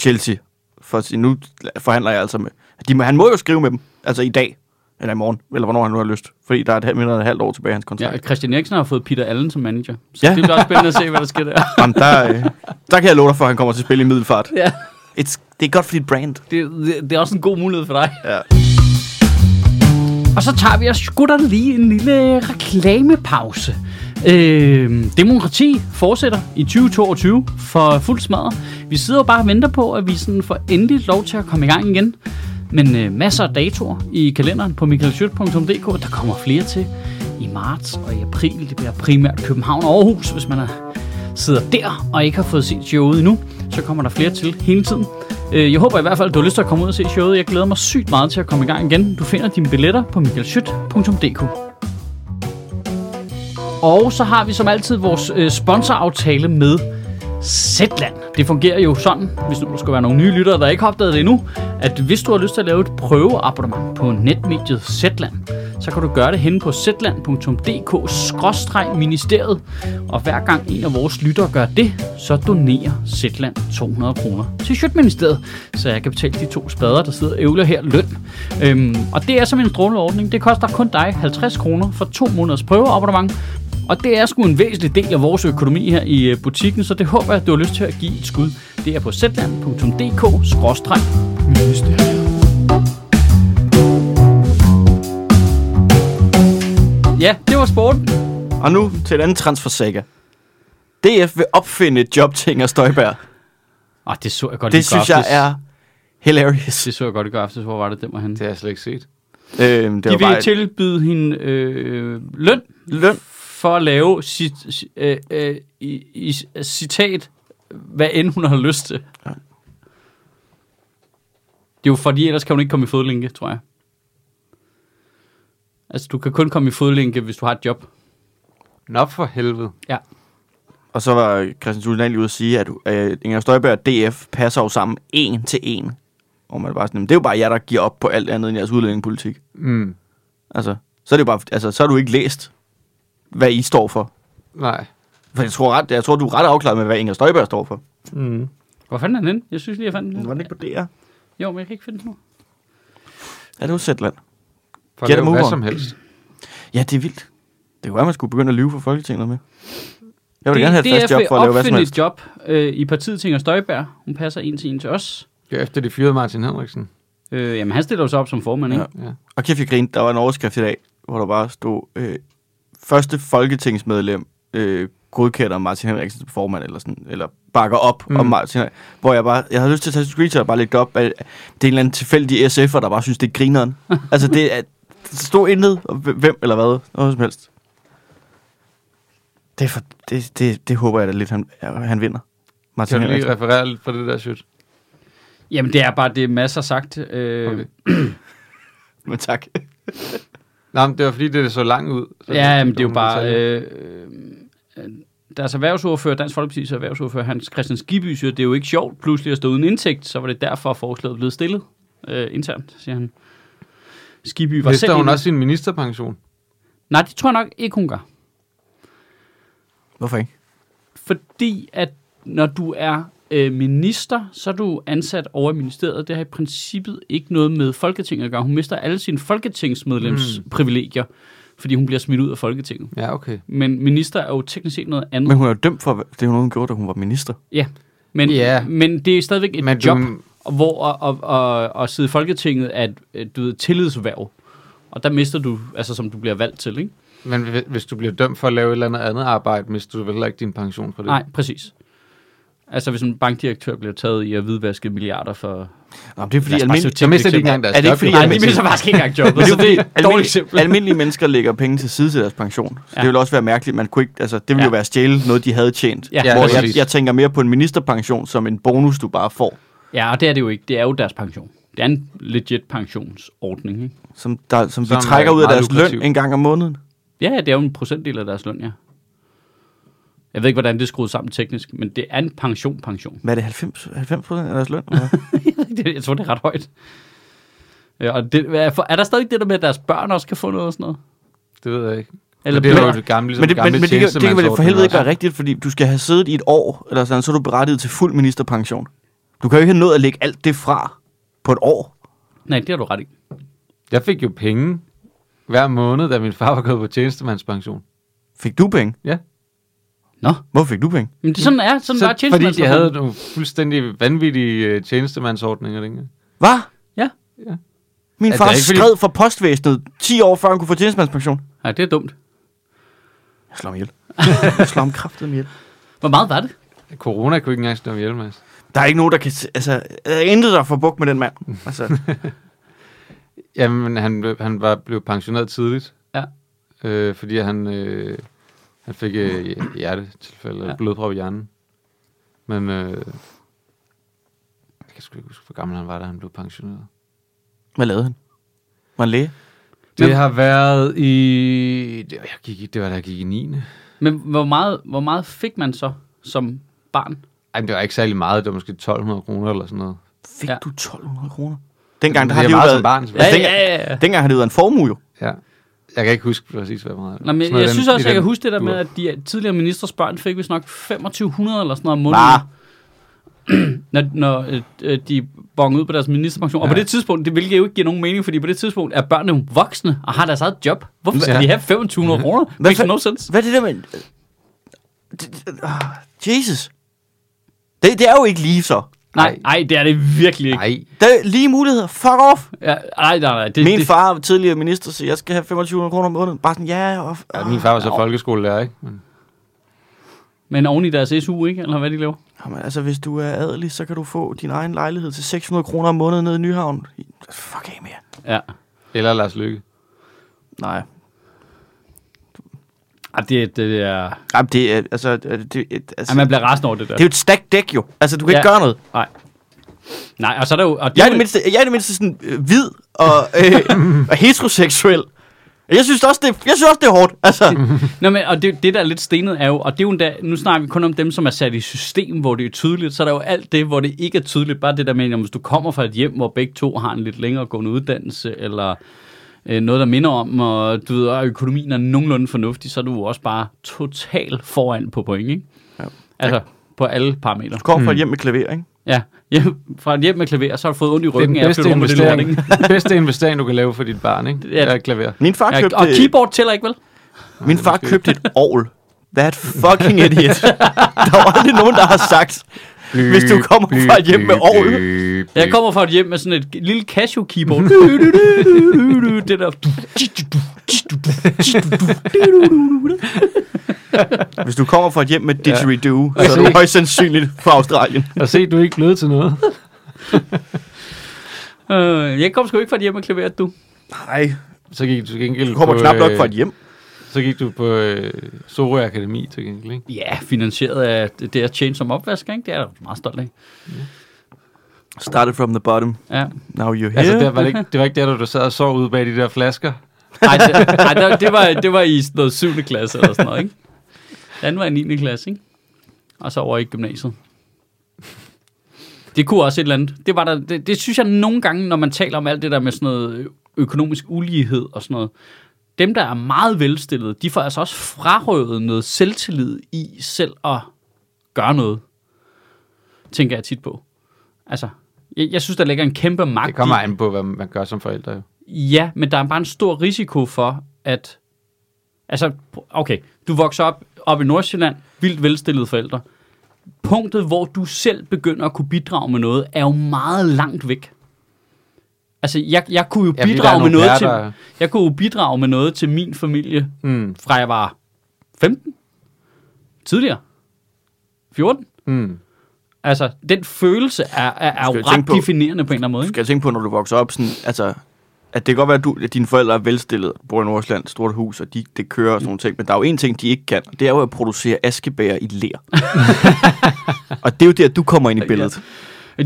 S2: Chelsea. For at sige, nu forhandler jeg altså med... De, må- han må jo skrive med dem, altså i dag, eller i morgen, eller hvornår han nu har lyst. Fordi der er et, halvt- mindre end et halvt år tilbage i hans kontrakt.
S1: ja, Christian Eriksen har fået Peter Allen som manager. Så ja.
S2: Ja.
S1: det bliver også spændende at se, hvad der sker der.
S2: Jamen, der, øh, der kan jeg love dig for, at han kommer til at spille i middelfart.
S1: ja.
S2: It's, det er godt for dit brand.
S1: det, det, det er også en god mulighed for dig.
S2: Ja.
S1: Og så tager vi og skutter lige en lille reklamepause. Øh, demokrati fortsætter i 2022 for fuld smadret. Vi sidder jo bare og venter på, at vi sådan får endelig lov til at komme i gang igen. Men øh, masser af datoer i kalenderen på michaelschødt.dk. Der kommer flere til i marts og i april. Det bliver primært København og Aarhus, hvis man er sidder der og ikke har fået set showet endnu, så kommer der flere til hele tiden. Øh, Jeg håber i hvert fald, at du har lyst til at komme ud og se showet. Jeg glæder mig sygt meget til at komme i gang igen. Du finder dine billetter på michaelschyt.dk Og så har vi som altid vores øh, sponsoraftale med Zetland. Det fungerer jo sådan, hvis nu der skulle være nogle nye lyttere, der ikke har opdaget det endnu, at hvis du har lyst til at lave et prøveabonnement på netmediet Zetland, så kan du gøre det henne på zetland.dk-ministeriet, og hver gang en af vores lyttere gør det, så donerer Zetland 200 kroner til Sjøtministeriet, så jeg kan betale de to spader, der sidder og ævler her løn. Øhm, og det er som en stråleordning. Det koster kun dig 50 kroner for to måneders prøveabonnement, og det er sgu en væsentlig del af vores økonomi her i øh, butikken, så det håber jeg, at du har lyst til at give et skud. Det er på zland.dk-ministeriet. Ja, det var sporten.
S2: Og nu til et andet transfersaga. DF vil opfinde jobting af Støjberg.
S1: Ah, det så jeg godt i
S2: Det
S1: går
S2: synes jeg
S1: aftes.
S2: er hilarious.
S1: Det så jeg godt i går aftes. Hvor var det, den var henne?
S3: Det har jeg slet ikke set.
S2: Øhm,
S1: De
S2: det var
S1: vil
S2: bare til...
S1: tilbyde hende øh, løn
S2: løn.
S1: for at lave sit, øh, øh, i, i, citat, hvad end hun har lyst til.
S2: Ja.
S1: Det er jo fordi, ellers kan hun ikke komme i fodlænke, tror jeg. Altså, du kan kun komme i fodlænke, hvis du har et job.
S3: Nå for helvede.
S1: Ja.
S2: Og så var Christian Tulsland lige ude at sige, at øh, Inger Støjberg og DF passer jo sammen en til en. Og man er bare sådan, "Men det er jo bare jer, der giver op på alt andet end jeres udlændingepolitik.
S3: Mm.
S2: Altså, så er det jo bare, altså, så har du ikke læst, hvad I står for.
S3: Nej.
S2: For jeg tror, ret, jeg tror, du er ret afklaret med, hvad Inger Støjberg står for.
S3: Mm.
S1: Hvor fanden er den henne? Jeg synes lige, jeg fandt den.
S2: Var den ikke på DR?
S1: Jo, men jeg kan ikke finde den nu.
S2: Er det jo Zetland?
S3: For
S2: Get a
S3: at lave
S2: move
S3: hvad
S2: on.
S3: som helst.
S2: Ja, det er vildt. Det kunne være, man skulle begynde at lyve for Folketinget med. Jeg vil
S1: Det-
S2: gerne have et
S1: DF
S2: fast job
S1: vil
S2: for at lave hvad som
S1: opfinde
S2: helst.
S1: et job øh, i partiet til Inger Støjberg. Hun passer en til en til os.
S3: Det er efter, de fyrede Martin Henriksen.
S1: Øh, jamen, han stiller jo sig op som formand, ikke?
S2: Ja.
S3: Ja.
S2: Og kæft, jeg grinede. Der var en overskrift i dag, hvor der bare stod, øh, første folketingsmedlem øh, godkender Martin Henriksen som formand, eller, sådan, eller bakker op mm.
S3: Mm.
S2: om Martin Henriksen. Hvor jeg bare, jeg havde lyst til at tage et screenshot og bare lægge det op, at det er en eller anden tilfældig SF'er, der bare synes, det er grineren. altså, det er, der stod intet, og hv- hvem eller hvad, noget som helst. Det, er for, det, det, det håber jeg da lidt, han, han vinder. Martin
S3: Kan du lige
S2: Henriksen.
S3: referere lidt fra det der shit?
S1: Jamen, det er bare det, masser sagt. Øh,
S3: Okay.
S2: Men tak.
S3: Nej, men det var fordi, det så langt ud. Så
S1: Ja, men det er jo
S3: nogle
S1: bare...
S3: detaljer.
S1: Øh, øh, deres erhvervsordfører, Dansk Folkeparti's erhvervsordfører, Hans Christian Skibby, siger, det er jo ikke sjovt pludselig at stå uden indtægt, så var det derfor, at forslaget blev stillet øh, internt, siger han. Skibby var
S3: Mister
S1: selv...
S3: hun
S1: en-
S3: også sin ministerpension?
S1: Nej, det tror jeg nok ikke, hun gør.
S2: Hvorfor ikke?
S1: Fordi at når du er øh, minister, så er du ansat over i ministeriet. Det har i princippet ikke noget med Folketinget at gøre. Hun mister alle sine folketingsmedlems mm. privilegier, fordi hun bliver smidt ud af Folketinget.
S3: Ja, okay.
S1: Men minister er jo teknisk set noget andet.
S2: Men hun er jo dømt for hvad- det, hun gjorde, da hun var minister.
S1: Ja, men,
S3: Ja.
S1: yeah. men det er stadigvæk et
S3: Men
S1: men
S3: du-
S1: job, hvor at, at, at, at sidde i Folketinget er et, øh, du ved, tillidshverv. Og der mister du, altså som du bliver valgt til, ikke?
S3: Men hvi- hvis du bliver dømt for at lave et eller andet andet arbejde, mister du vel heller ikke din pension for det?
S1: Nej, præcis. Altså, hvis en bankdirektør bliver taget i at hvidvaske milliarder for...
S2: Nå, men det
S1: Lad
S2: er fordi,
S1: os bare
S2: almindelige,
S1: sige-
S3: Så mister de
S1: eksempel.
S3: ikke engang deres
S2: Er det ikke
S3: job,
S2: fordi,
S3: jo. Altså,
S1: Nej,
S2: men-
S1: de mister faktisk ikke engang jobbet, så Altså, det er et dårligt
S2: almindelige,
S1: eksempel.
S2: almindelige mennesker lægger penge til side til deres pension. Så
S1: Ja.
S2: ja. det ville også være mærkeligt. Man kunne ikke, altså, det ville ja.
S1: Ja.
S2: jo være at stjæle noget, de havde tjent.
S1: Ja,
S2: Ja,
S1: ja,
S2: hvor jeg,
S3: præcis.
S2: jeg tænker mere på en ministerpension som en bonus, du bare får.
S1: Ja, og det er det jo ikke. Det er jo deres pension. Det er en legit pensionsordning, ikke?
S2: Som, der, som de
S3: Som er
S2: trækker ud af
S3: meget
S2: deres løn
S3: lukrativ.
S2: en gang om måneden.
S1: Ja, ja, det er jo en procentdel af deres løn, ja. Jeg ved ikke, hvordan det er skruet sammen teknisk, men det er en pension-pension.
S2: Hvad er det, 90, 90 procent af deres løn? eller
S1: Ligesom
S2: hvad?
S1: Det- jeg tror, det er ret højt. Ja, og det, hvad er, for, er der stadig det der med, at deres børn også kan få noget og sådan noget?
S3: Det ved jeg ikke.
S1: Eller
S3: Eller det er jo
S1: men-
S3: det gamle, ligesom
S2: men det, men,
S3: gamle
S2: men det, kan- det kan vel for
S3: tjenestemandsordning
S2: helvede ikke
S3: også.
S2: være rigtigt, fordi du skal have siddet i et år, eller sådan, så er du berettiget til fuld ministerpension. Du kan jo ikke have nået at lægge alt det fra på et år.
S1: Nej, det har du ret i.
S3: Jeg fik jo penge hver måned, da min far var gået på tjenestemandspension.
S2: Fik du penge?
S3: Ja.
S1: Nå,
S2: Hvorfor fik du penge?
S1: men det sådan er, sådan så, var
S3: fordi de
S1: tjenestemandsreformen.
S3: havde nogle fuldstændig vanvittige øh, tjenestemandsordninger dengang.
S2: Hvad?
S1: Ja.
S3: Ja.
S2: Min
S3: Er
S2: far
S3: det ikke fordi-
S2: skred for postvæsenet 10 år før han kunne få tjenestemandspension.
S1: Nej, det er dumt.
S2: Jeg slår ham ihjel. Jeg slår ham kraftet ihjel.
S1: Hvor meget var det?
S3: Corona kunne ikke engang stå ihjel, Mads.
S2: Der er ikke nogen, der kan... s- Altså, der er intet, der får bukt med den mand.
S3: Mm.
S2: Altså,
S3: Jamen, han, blev- han var blevet pensioneret tidligt.
S1: Ja.
S3: Øh, fordi han, øh, han fik øh, hjertetilfælde,
S1: Ja.
S3: ja. blodprop i hjernen. Men øh, jeg kan sgu ikke huske, hvor gammel han var, da han blev pensioneret.
S2: hvad lavede han? Var han læge?
S3: Det
S1: Men-
S3: har været i... Det, jeg gik, i- det var da jeg gik i 9.
S1: Men hvor meget, hvor meget fik man så som barn?
S3: Ej, men det var ikke særlig meget. Det var måske 1200 kroner eller sådan noget.
S2: Fik
S1: Ja.
S2: ja. du 1200 kroner? Dengang, der
S3: Det
S2: har
S3: er
S2: det jo
S3: meget
S2: været...
S3: som barn,
S2: altså,
S1: selvfølgelig. Ja, ja, ja, ja.
S2: Dengang, dengang har det jo været en formue, jo.
S3: Ja. Jeg kan ikke huske præcis, hvad meget.
S1: Nå, men
S3: Sådan noget
S1: jeg
S3: i
S1: synes
S3: den-
S1: også,
S3: i
S1: jeg kan
S3: den
S1: huske det der med,
S3: dur.
S1: at de tidligere ministers børn fik vist nok 2500 eller sådan noget om
S2: Bare.
S1: måneden. når, når øh, øh, de bonger ud på deres ministerpension. Og
S3: Ja.
S1: på det tidspunkt, det hvilket jo ikke giver nogen mening, fordi på det tidspunkt er børnene jo voksne og har deres eget job. Hvorfor skal
S3: Ja.
S1: de have 2500 kroner?
S2: Hvad
S1: Makes
S2: for-
S1: no sense.
S2: Hvad er det der med... Det- det- ah, Jesus. Det, det er jo ikke lige så.
S1: Nej, nej, det er det virkelig ikke.
S3: Nej,
S2: Der er lige muligheder. Fuck off.
S1: Ja, nej, nej, nej. Det,
S2: Min
S1: det,
S2: far var tidligere minister, så jeg skal have 2500 kroner om måneden. Bare sådan, ja, og...
S3: ja, min far var så folkeskolelærer, ikke? Men,
S1: Men oven i deres SU, ikke? Eller hvad de laver.
S2: Jamen, altså, hvis du er adelig, så kan du få din egen lejlighed til 600 kroner om måneden nede i Nyhavn. Fuck af med jer.
S1: Ja.
S3: eller Lars Lykke.
S2: Nej.
S1: Ej, det, det er...
S2: Jamen, det er, altså, det, det, altså,
S1: Ej, man bliver rasende over det der.
S2: det er jo et stacked dæk, jo. Altså, du kan ja. ikke
S1: Ja.
S2: gøre noget.
S1: Nej. Nej, og så er der jo... Og det
S2: Jeg er
S1: er
S2: i det
S1: jo-
S2: mindste, jeg er i det mindste sådan øh, hvid og, øh, og heteroseksuel. Jeg synes også, det, jeg synes også, det er hårdt. Altså,
S1: Nå, men, og det, det, der er lidt stenet, er jo, og det er jo endda, nu snakker vi kun om dem, som er sat i system, hvor det er tydeligt, så er der jo alt det, hvor det ikke er tydeligt. Bare det der med, at hvis du kommer fra et hjem, hvor begge to har en lidt længere gående uddannelse, eller øh, noget, der minder om, og du ved, og økonomien er nogenlunde fornuftig, så er du jo også bare total foran på point, ikke?
S2: Ja.
S1: Altså, på alle parametre.
S2: du kommer fra et hjem med klaver, ikke?
S1: Ja, hjem, fra et hjem med klaver, så har du fået ondt i
S3: Det er den
S1: ryggen af at
S3: bedste
S1: flytte rundt med det lort,
S3: investering,
S1: ikke?
S3: den bedste investering, du kan lave for dit barn, ikke?
S1: Ja.
S3: Det er et klaver.
S2: Min far
S1: Ja,
S2: købte,
S1: og keyboard tæller ikke, vel?
S2: min far købte et ovl. That fucking idiot. der var aldrig nogen, der har sagt, hvis du kommer fra et hjem med ovl.
S1: Jeg kommer fra et hjem med sådan et lille Casio keyboard. det der.
S2: Hvis du kommer fra et hjem med didgeridoo,
S3: Ja.
S2: ja. så er du højst sandsynligt fra Australien.
S3: Og se, du er ikke blevet til noget.
S1: Øh, jeg kom sgu ikke fra et hjem med klaveret, du.
S2: Nej,
S3: Så gik du til gengæld
S2: du kommer
S3: på, øh,
S2: knap nok fra et hjem.
S3: Så gik du på øh, Sorø Akademi til gengæld, ikke?
S1: Ja, finansieret af det der tjene som opvasker, ikke? Det er jeg da meget stolt af.
S2: Started from the bottom,
S1: Ja.
S2: now you're here.
S3: Altså, der var det, ikke, det var ikke der, du- du sad og sov ude bag de der flasker.
S1: Ej, det, ej, der, det, var, det var i sådan noget 7. klasse eller sådan noget, ikke? Den var i 9. klasse, ikke? Og så over i gymnasiet. Det kunne også et eller andet. Det, var der, det, det synes jeg nogle gange, når man taler om alt det der med sådan noget økonomisk ulighed og sådan noget. Dem, der er meget velstillede, de får altså også frarøvet noget selvtillid i selv at gøre noget. Tænker jeg tit på. Altså, jeg, jeg synes, der ligger en kæmpe magt
S3: Det kommer
S1: i-
S3: an på, hvad man gør som forældre. Jo.
S1: Ja, men der er bare en stor risiko for, at... Altså, okay, du vokser op, op i Nordsjælland, vildt velstillede forældre. Punktet, hvor du selv begynder at kunne bidrage med noget, er jo meget langt væk. Altså, jeg, jeg kunne jo
S3: Ja, fordi der
S1: bidrage
S3: er
S1: med
S3: nogle
S1: noget
S3: pærer,
S1: til,
S3: der-
S1: jeg kunne jo bidrage med noget til min familie,
S3: Mm.
S1: fra jeg var 15, tidligere, 14.
S3: Mm.
S1: Altså, den følelse er, er, er
S2: Skal
S1: jo
S2: vi tænke
S1: ret
S2: på-
S1: definerende på en eller anden måde.
S2: Du
S1: Ikke?
S2: skal tænke på, når du vokser op, sådan, altså, at det kan godt være, at, du, at dine forældre er velstillede, bor i Nordsjælland, stort hus, og de, det kører og sådan nogle ting, men der er jo en ting, de ikke kan, og det er jo at producere askebæger i ler. og det er jo der, du kommer ind i billedet.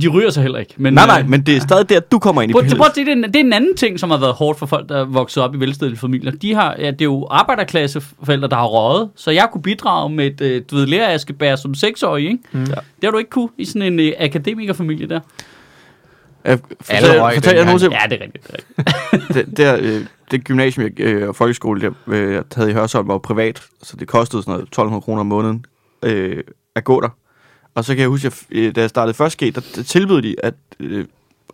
S1: De ryger sig heller ikke. Men,
S2: Nej, nej,
S1: øh,
S2: men det er stadig der, du kommer ind i
S1: Prøv,
S2: billedet.
S1: prøv, at se, det, er en, det er en anden ting, som har været hårdt for folk, der er vokset op i velstillede familier. De har, ja, det er jo arbejderklasseforældre, der har røget, så jeg kunne bidrage med et øh, du ved, læreraskebær som seksårig. Ikke? Mm. Det har du ikke kunne i sådan en øh, akademikerfamilie der.
S2: Øh,
S3: Alle
S2: Fortæl,
S3: røg
S2: fortæl jeg
S3: dengang.
S2: nogensinde,
S1: Ja, det er rigtigt. Det er rigtigt.
S2: det, der, øh, det gymnasium jeg, øh, og folkeskole, jeg, øh, jeg havde i Hørsholm, var jo privat, så det kostede sådan noget 1200 kroner om måneden øh, at gå der. Og så kan jeg huske, at øh, da jeg startede først G, der, der tilbød de at, øh,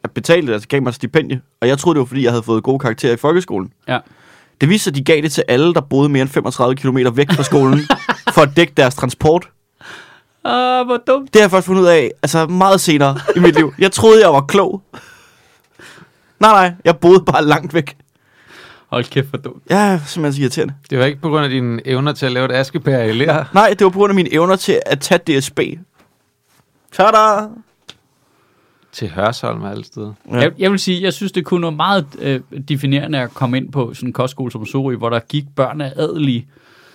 S2: at betale det, altså gav mig et stipendie. Og jeg troede, det var, fordi jeg havde fået gode karakterer i folkeskolen.
S1: Ja.
S2: Det viste sig, at de gav det til alle, der boede mere end 35 km væk fra skolen, for at dække deres transport.
S1: Ah, hvor dumt.
S2: Det har jeg først fundet ud af, altså meget senere i mit liv. Jeg troede, jeg var klog. Nej, nej, jeg boede bare langt væk.
S1: Hold kæft, hvor dumt.
S2: Ja, det er simpelthen så irriterende.
S3: Det var ikke på grund af dine evner til at lave et askepær i lær.
S2: Nej, det var på grund af mine evner til at tage DSB. Tada!
S3: Til Hørsholm og alle steder.
S2: Ja.
S1: Ja. Jeg, jeg vil sige, jeg synes, det kunne noget meget øh, definerende at komme ind på sådan en kostskole som Sorø, hvor der gik børn af adelige,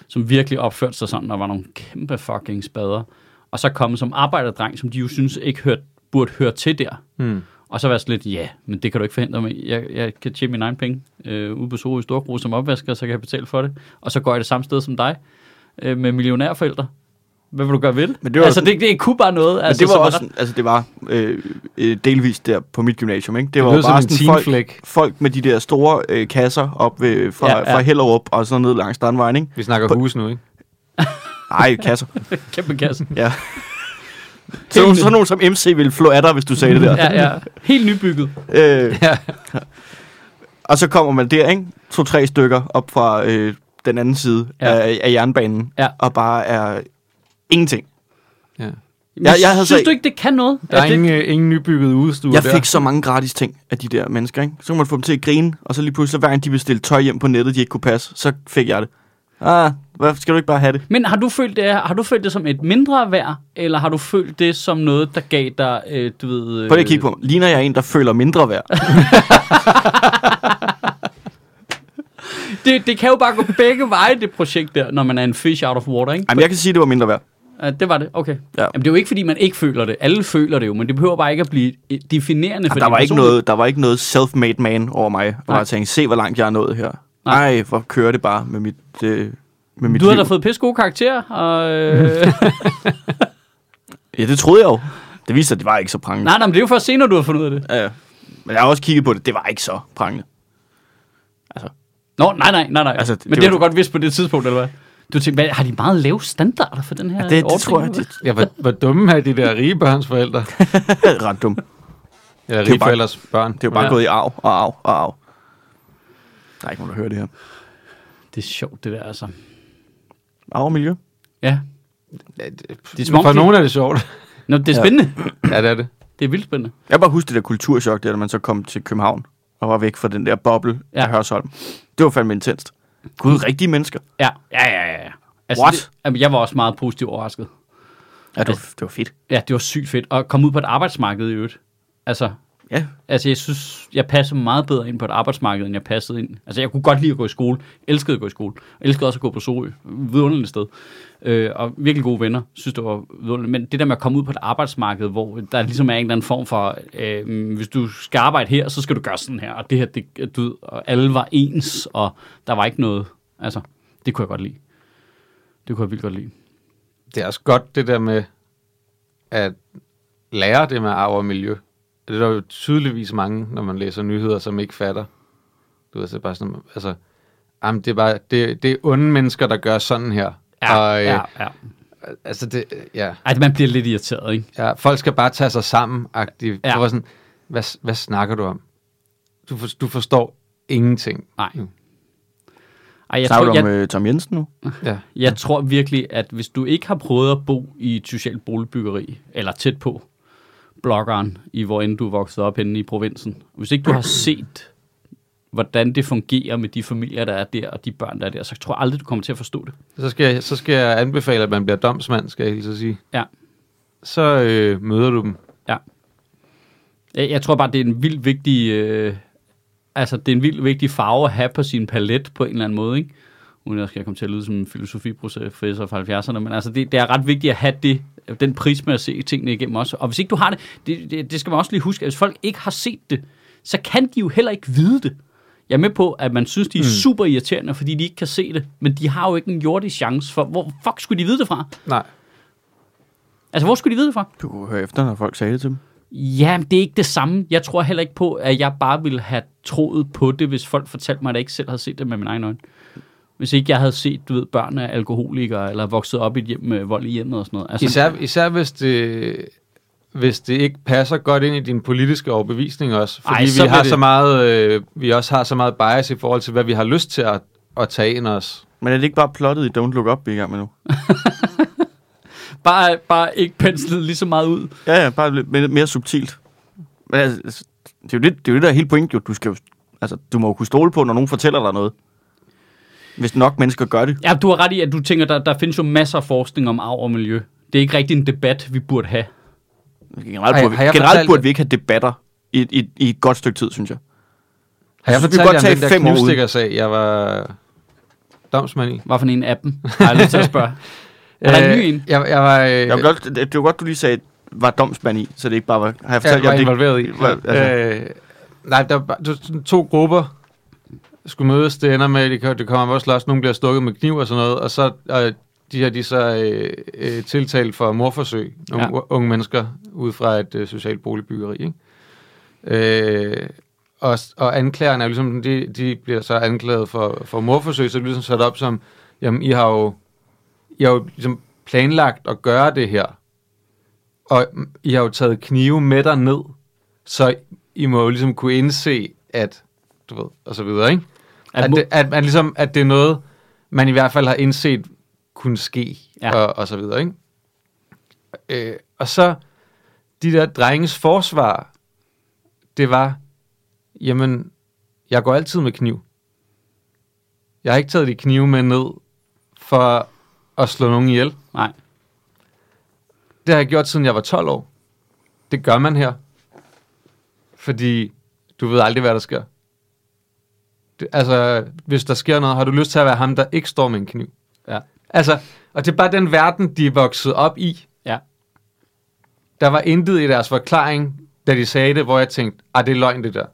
S1: som virkelig opførte sig sådan, og var nogle kæmpe fucking spader. Og så komme som arbejderdreng, som de jo synes ikke hørt, burde høre til der.
S3: Mm.
S1: Og så være sådan lidt, ja, men det kan du ikke forhindre mig. i. Jeg, jeg kan tjene mine egne penge øh, ude på Sorø i Storkro som opvasker, så kan jeg betale for det. Og så går jeg det samme sted som dig øh, med millionærforældre. Hvad vil du gøre ved det?
S2: Men det var
S1: altså,
S2: sådan-
S1: det, det kunne bare noget.
S2: Men
S1: Altså,
S2: det var
S1: som
S2: også,
S1: ret-
S2: altså det var øh, øh, delvis der på mit gymnasium, ikke? Det
S3: Det
S2: var
S3: lyder
S2: jo
S3: som
S2: bare
S3: en
S2: sådan folk,
S3: teamflick.
S2: folk med de der store øh, kasser op ved, fra,
S1: Ja,
S2: ja,
S1: ja.
S2: ja. fra Hellerup og sådan ned langs Strandvejen, ikke?
S3: Vi snakker
S2: På-
S3: hus nu, ikke?
S2: Nej, kasser.
S1: Kæmpe kassen.
S2: Ja. Så, sådan nogen som MC ville flå af dig, hvis du sagde det der.
S1: Ja, ja. Helt nybygget.
S2: Øh,
S3: Ja.
S2: og så kommer man der, ikke? To-tre stykker op fra øh, den anden side
S1: Ja.
S2: ja. af, af jernbanen,
S1: Ja.
S2: og bare er ingenting.
S3: ja.
S1: Men
S2: Jeg- jeg havde
S1: synes
S2: så-
S1: du ikke, det kan noget?
S3: Der er
S1: At det,
S3: ingen, øh, ingen nybyggede udstue
S2: Jeg
S3: der.
S2: fik så mange gratis ting af de der mennesker, ikke? Så kunne man få dem til at grine, og så lige pludselig, hver gang de bestilte tøj hjem på nettet, de ikke kunne passe, så fik jeg det. Ah, hvad, skal du ikke bare have det?
S1: men har du, følt det, har du følt det som et mindre værd, eller har du følt det som noget, der gav dig, øh, du ved... Øh,
S2: Prøv lige at kigge på mig. Ligner jeg en, der føler mindre værd?
S1: Det, det kan jo bare gå begge veje, det projekt der, når man er en fish out of water, ikke?
S2: Jamen, jeg kan sige, det var mindre værd.
S1: Uh, det var det, okay.
S2: Ja.
S1: Jamen, det er jo ikke, fordi man ikke føler det. Alle føler det jo, men det behøver bare ikke at blive øh, definerende for
S2: Og der
S1: din
S2: var, ikke
S1: personlighed.
S2: noget, der var ikke noget self-made man over mig. Og
S1: Nej.
S2: jeg tænkte, se hvor langt jeg er nået her.
S1: Nej.
S2: Nej, Ej, hvor kører det bare med mit, øh, med mit
S1: Du har da
S2: liv.
S1: fået pisse gode karakterer, og... Øh,
S2: Ja, det troede jeg jo. Det viste sig, at det var ikke så prangende.
S1: nej, nej, men det er jo først senere, du har fundet ud af det.
S2: Ja, ja. Men jeg har også kigget på det. Det var ikke så prangende.
S1: Nå, nej, nej, nej, nej. Altså,
S2: Altså,
S1: det,
S2: det-
S1: men det,
S2: det
S1: det har
S2: var-
S1: du godt vidst på det tidspunkt, eller hvad? Du tænkte, hvad, har de meget lave standarder for den her
S2: Ja, det, det
S1: ordning,
S2: tror jeg,
S1: eller
S2: det
S3: Ja, hvor, hvor dumme er de der rige børns forældre?
S2: er ret dumt.
S3: Eller
S2: er jo
S3: rige
S2: bare-
S3: forældres børn.
S2: Det er jo bare
S1: Ja.
S2: ja. gået i arv og arv og arv. Der er ikke nogen, der hører det her.
S1: hvad? Det er sjovt, det der, altså.
S2: Arv og miljø.
S1: Ja.
S3: Ja, det,
S1: Det er som om,
S3: for
S1: de-
S3: nogen er det sjovt.
S1: Nå, det er spændende.
S3: ja, det er det.
S1: Det er vildt spændende.
S2: Jeg kan bare huske det der kulturschok, der, da man så kom til København og var væk fra den der boble
S1: Ja. Mm.
S2: ja. af Hørsholm. Det var fandme intenst. Gud, rigtige mennesker.
S1: Ja, ja, ja. ja, ja.
S2: What?
S1: Det, jamen, jeg var også meget positivt overrasket.
S2: Ja, det, var,
S1: Altså-
S2: det var fedt.
S1: Ja, det var sygt fedt. Og komme ud på et arbejdsmarked i øvrigt. Altså,
S2: Ja.
S1: altså, jeg synes, jeg passede meget bedre ind på et arbejdsmarked, end jeg passede ind. Altså, jeg kunne godt lide at gå i skole. Elskede at gå i skole. Elskede også at gå på Sorø. Vidunderligt sted. Øh, og virkelig gode venner. Synes, det var vidunderligt. Men det der med at komme ud på et arbejdsmarked, hvor der ligesom er en eller anden form for, øh, hvis du skal arbejde her, så skal du gøre sådan her. Og det her, det, du, ved, og alle var ens, og der var ikke noget. Altså, det kunne jeg godt lide. Det kunne jeg vildt godt lide.
S3: Det er også godt det der med at lære det med arv og miljø. Det er der jo tydeligvis mange, når man læser nyheder, som ikke fatter. Du ved, så er det bare sådan, altså, jamen, det er bare, det, det er onde mennesker, der gør sådan her. og, øh,
S1: ja, ja.
S3: Altså, det, øh, ja.
S1: Ej, man bliver lidt irriteret, ikke?
S3: ja. Folk skal bare tage sig sammen, aktivt.
S1: Ja.
S3: Ja. Det var sådan, hvad, s- hvad snakker du om? Du, for, du forstår ingenting.
S1: Nej.
S3: Mm.
S1: Ej, jeg
S2: Snakker
S1: tror,
S2: du om
S1: jeg,
S2: øh, Tom Jensen nu?
S3: Ja.
S1: jeg tror virkelig, at hvis du ikke har prøvet at bo i et socialt boligbyggeri, eller tæt på, bloggeren, i hvor end du er vokset op henne i provinsen. Hvis ikke du har set, hvordan det fungerer med de familier, der er der, og de børn, der er der, så tror jeg aldrig, du kommer til at forstå det.
S3: Så skal, jeg, så skal jeg anbefale, at man bliver domsmand, skal jeg hilse at sige.
S1: Ja.
S3: Så øh, møder du dem.
S1: Jeg, jeg tror bare, det er en vildt vigtig... Øh, altså, det er en vildt vigtig farve at have på sin palet på en eller anden måde, ikke? Uden at jeg skal komme til at lyde som en filosofiprofessor fra 70'erne, men altså, det, det er ret vigtigt at have det, den prisme at se tingene igennem også. Og hvis ikke du har det, det, det, det skal man også lige huske, at hvis folk ikke har set det, så kan de jo heller ikke vide det. Jeg er med på, at man synes, de er mm. super irriterende, fordi de ikke kan se det, men de har jo ikke en jordig chance for, hvor fuck skulle de vide det fra?
S3: Nej.
S1: Altså, hvor skulle de vide det fra?
S2: Du kunne høre efter, når folk sagde det til dem.
S1: Ja, men det er ikke det samme. Jeg tror heller ikke på, at jeg bare ville have troet på det, hvis folk fortalte mig, at jeg ikke selv havde set det med min egen øjne. Hvis ikke jeg havde set, du ved, børn af alkoholikere, eller vokset op i et hjem med vold i hjemmet og sådan noget. Altså,
S3: Især, især hvis, det, hvis det ikke passer godt ind i din politiske overbevisning også. Fordi
S1: Ej,
S3: Ej,
S1: så
S3: vi,
S1: bliver
S3: har
S1: det-
S3: så meget, øh, vi også har så meget bias i forhold til, hvad vi har lyst til at, at tage ind os.
S2: Men er det ikke bare plottet i Don't Look Up, vi er i gang med nu?
S1: bare, bare ikke penslet lige så meget ud.
S2: Ja, ja, bare lidt mere, mere subtilt. Men altså, det er jo det, det, er jo det der er hele pointet, jo. Du, skal jo, altså, du må jo kunne stole på, når nogen fortæller dig noget. Hvis nok mennesker gør det.
S1: Ja, du har ret i, at du tænker, der, der findes jo masser af forskning om arv og miljø. Det er ikke rigtig en debat, vi burde have.
S2: Generelt,
S3: Har-
S2: burde,
S3: har
S2: vi,
S3: jeg
S2: generelt
S3: fortalt-
S2: burde vi ikke have debatter i, i, i et godt stykke tid, synes jeg.
S3: Har jeg
S2: synes, vi
S3: fortalt
S2: godt
S3: jer
S2: tage
S3: om den der
S2: fem år ud.
S3: knivstikkersag, jeg var domsmand i?
S1: Hvad for en af dem? Har jeg lyst til at spørge. Er der en ny en?
S3: Jeg, jeg var, øh,
S2: Jeg vil godt, det det var godt, du lige sagde, var domsmand i, så det ikke bare var... Har jeg fortalt
S3: jeg var
S2: jer, det,
S3: involveret i.
S2: Hvad- altså-
S3: Øh, nej, der var der var sådan to grupper skulle mødes. Det ender med, at det, kan- det kommer også slås. Nogle bliver stukket med kniv og sådan noget. Og så og de her, de er så øh, øh, tiltalt for morforsøg. Nogle
S1: Ja.
S3: ja. unge mennesker ud fra et øh, socialt boligbyggeri. Ikke? Øh, og, og anklagerne er jo ligesom, de, de bliver så anklaget for, for morforsøg, så det er ligesom sat op som, jamen, I har jo, I har jo ligesom planlagt at gøre det her, og I har jo taget knive med dig ned, så I må jo ligesom kunne indse, at, du ved, og så videre, ikke?
S1: At
S3: At, at,
S1: mo-
S3: det, at, man ligesom, at det er noget, man i hvert fald har indset kunne ske,
S1: Ja.
S3: ja. og, og så videre, ikke? Øh, og så, de der drenges forsvar, det var, jamen, jeg går altid med kniv. Jeg har ikke taget de knive med ned for at slå nogen ihjel.
S1: Nej.
S3: Det har jeg gjort, siden jeg var 12 år. Det gør man her. Fordi du ved aldrig, hvad der sker. Det, altså, hvis der sker noget, har du lyst til at være ham, der ikke står med en kniv.
S1: Ja.
S3: Altså, og det er bare den verden, de er vokset op i.
S1: Ja.
S3: Der var intet i deres forklaring, da de sagde det, hvor jeg tænkte, ah, det er løgn, det der.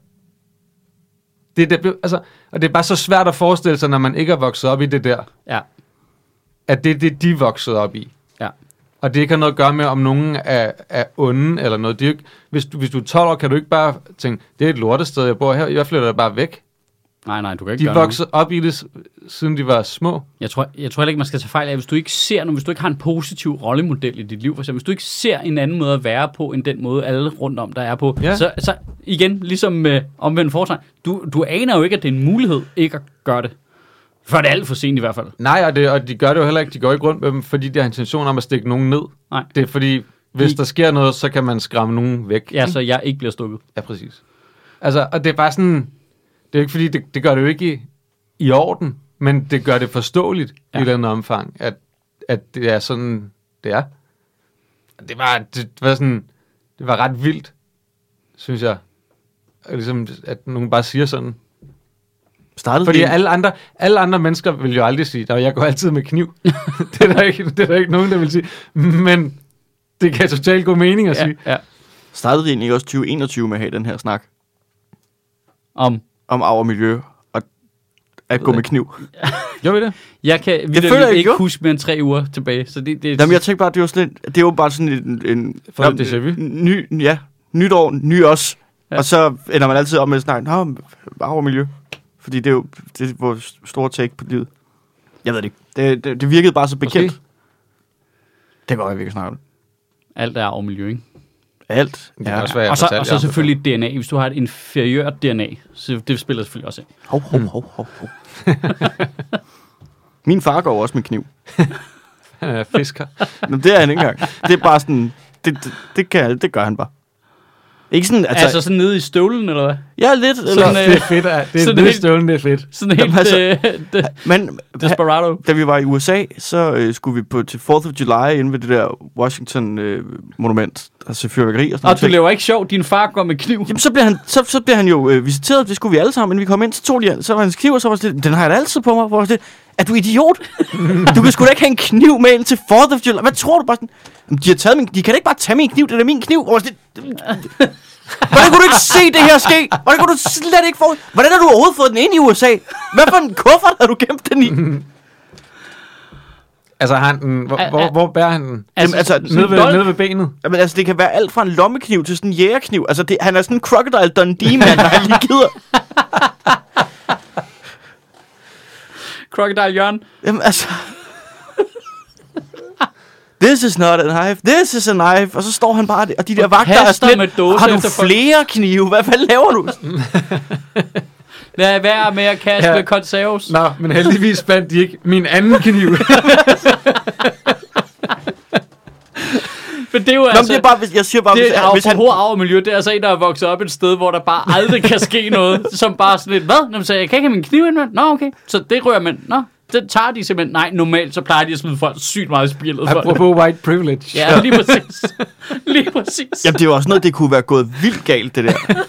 S3: Det, det, blev- altså, og det er bare så svært at forestille sig, når man ikke er vokset op i det der,
S1: Ja.
S3: at det er det, de er vokset op i.
S1: Ja.
S3: Og det ikke har noget at gøre med, om nogen er, er onde eller noget. Det er jo ikke, hvis, du, hvis du er 12 år, kan du ikke bare tænke, det er et lortested, jeg bor her, jeg flytter da bare væk.
S1: Nej, nej, du kan ikke
S3: De
S1: gøre
S3: er
S1: noget.
S3: vokset op i det, s- siden de var små.
S1: Jeg tror, jeg tror heller ikke, man skal tage fejl af, hvis du ikke ser nu, hvis du ikke har en positiv rollemodel i dit liv, for eksempel, hvis du ikke ser en anden måde at være på, end den måde, alle rundt om der er på,
S3: Ja.
S1: så, så igen, ligesom med omvendt foretegn, du, du aner jo ikke, at det er en mulighed ikke at gøre det. Før det er alt for sent i hvert fald.
S3: Nej, og, det, og de gør det jo heller ikke. De går ikke rundt med dem, fordi de har intention om at stikke nogen ned.
S1: Nej.
S3: Det er fordi, hvis
S1: De-
S3: der sker noget, så kan man skræmme nogen væk.
S1: Ja, så jeg ikke bliver stukket.
S3: Ja, præcis. Altså, og det er bare sådan, det er jo ikke fordi, det, det gør det jo ikke i, i orden, men det gør det forståeligt
S1: Ja.
S3: ja. i den omfang, at, at det er sådan, det er. Og Det var, det var sådan, det var ret vildt, synes jeg. Og Ligesom, at nogen bare siger sådan.
S2: startede
S3: Fordi
S2: det,
S1: Mm.
S3: alle andre, alle andre mennesker vil jo aldrig sige, at jeg går altid med kniv. det, er der ikke, det er der ikke nogen, der vil sige. Men det kan totalt god mening at
S1: Ja,
S3: sige.
S1: ja.
S2: startede det egentlig ikke også 2021 med at have den her snak
S1: Om,
S2: om arv og miljø og at gå med kniv?
S3: Gjorde vi det?
S1: jeg kan det
S2: føler jeg
S1: ikke
S2: ikke, jo.
S1: huske mere end tre uger tilbage, så det, det
S2: Jamen, jeg tænkte bare, det var sådan lidt, det var bare sådan en... en
S3: For
S2: Nå,
S3: et déjà vu.
S2: Ny, ja, nyt år, ny os.
S1: Ja.
S2: Ja. Og så ender man altid op med at snakke, nå, arv og miljø. Fordi det er jo det er vores store take på livet. Jeg ved det ikke. Det, det, det virkede bare så bekendt.
S3: Måske.
S2: Det går jeg virkelig snart.
S1: alt er over miljø, ikke?
S2: Alt.
S3: Det kan
S2: Ja.
S3: også være, jeg
S1: og så,
S3: fortalte
S1: og
S3: jer
S1: så
S3: om det før.
S1: selvfølgelig DNA. Hvis du har et inferiørt DNA, så det spiller selvfølgelig også ind.
S2: Hov, hov, hov, hov, hov. Min far går også med kniv.
S3: Han er fisker.
S2: Men det er han ikke engang. Det er bare sådan, det, det, det, kan, det gør han bare. Ikke sådan, altså,
S1: Altså, altså sådan nede i støvlen, eller hvad?
S2: ja, lidt. Eller,
S1: sådan, øh,
S3: det er fedt. at- Det er
S1: sådan
S3: det
S1: helt-
S3: støvlen, det er fedt.
S1: Sådan
S2: Jamen,
S1: helt
S2: altså-
S1: øh, de-
S2: men
S1: desperado.
S2: da vi var i USA, så øh, skulle vi på til 4th of July inde ved det der Washington-monument, altså fyrværkeri og sådan
S1: Og
S2: noget.
S1: du laver ikke sjov, din far går med kniv.
S2: Jamen, så blev han, så, så blev han jo øh, visiteret, det skulle vi alle sammen, inden vi kom ind, så tog de, så var hans kniv, og så var jeg sådan, lidt, den har jeg da altid på mig, hvor jeg sådan, lidt, er du idiot? du kan sgu da ikke have en kniv med ind til 4th of July, hvad tror du bare sådan, "Jamen, de har taget min, de kan da ikke bare tage min kniv, det er da min kniv, hvor jeg sådan, lidt, Hvordan kunne du ikke se det her ske? Hvordan kunne du slet ikke få Hvordan har du overhovedet fået den ind i USA? Hvad for en kuffert har du gemt den i?
S3: Altså, har han den, hvor,
S1: Er-
S3: hvor,
S1: er-
S3: hvor bærer han den?
S1: Altså,
S2: altså,
S1: sådan
S3: Nede
S1: en
S3: ved,
S1: dolk.
S3: nede ved benet?
S2: Jamen altså, det kan være alt fra en lommekniv til sådan en jægerkniv. Altså, det, han er sådan en Crocodile Dundee-mand, når han lige gider.
S1: Crocodile Jørgen.
S2: Jamen altså... This is not a knife. This is a knife. Og så står han bare der, og de der
S1: Og
S2: vagter er
S1: kaster
S2: sådan
S1: med
S2: lidt,
S1: dåse
S2: Har du
S1: efter folk."
S2: flere knive? Hvad, hvad laver du?
S1: Lad være med at kaste
S3: Ja.
S1: ja. med konserves.
S3: Nå, men heldigvis fandt de ikke min anden kniv.
S1: For det er jo
S2: Nå, men
S1: altså...
S2: det er bare, hvis, jeg siger bare,
S1: det
S2: hvis,
S1: er
S2: hvis
S1: hvis
S2: han...
S1: miljø, det er altså en, der er vokset op et sted, hvor der bare aldrig kan ske noget, som bare sådan lidt, hvad? Nå, men så jeg kan ikke have min kniv indvendt. Nå, okay. Så det rører man. Nå, det tager de simpelthen. Nej, normalt så plejer de at smide folk sygt meget i spillet for det.
S3: Apropos white privilege. Altså,
S1: Ja, lige præcis. Lige præcis.
S2: Jamen, det er jo også noget, det kunne være gået vildt galt, det der.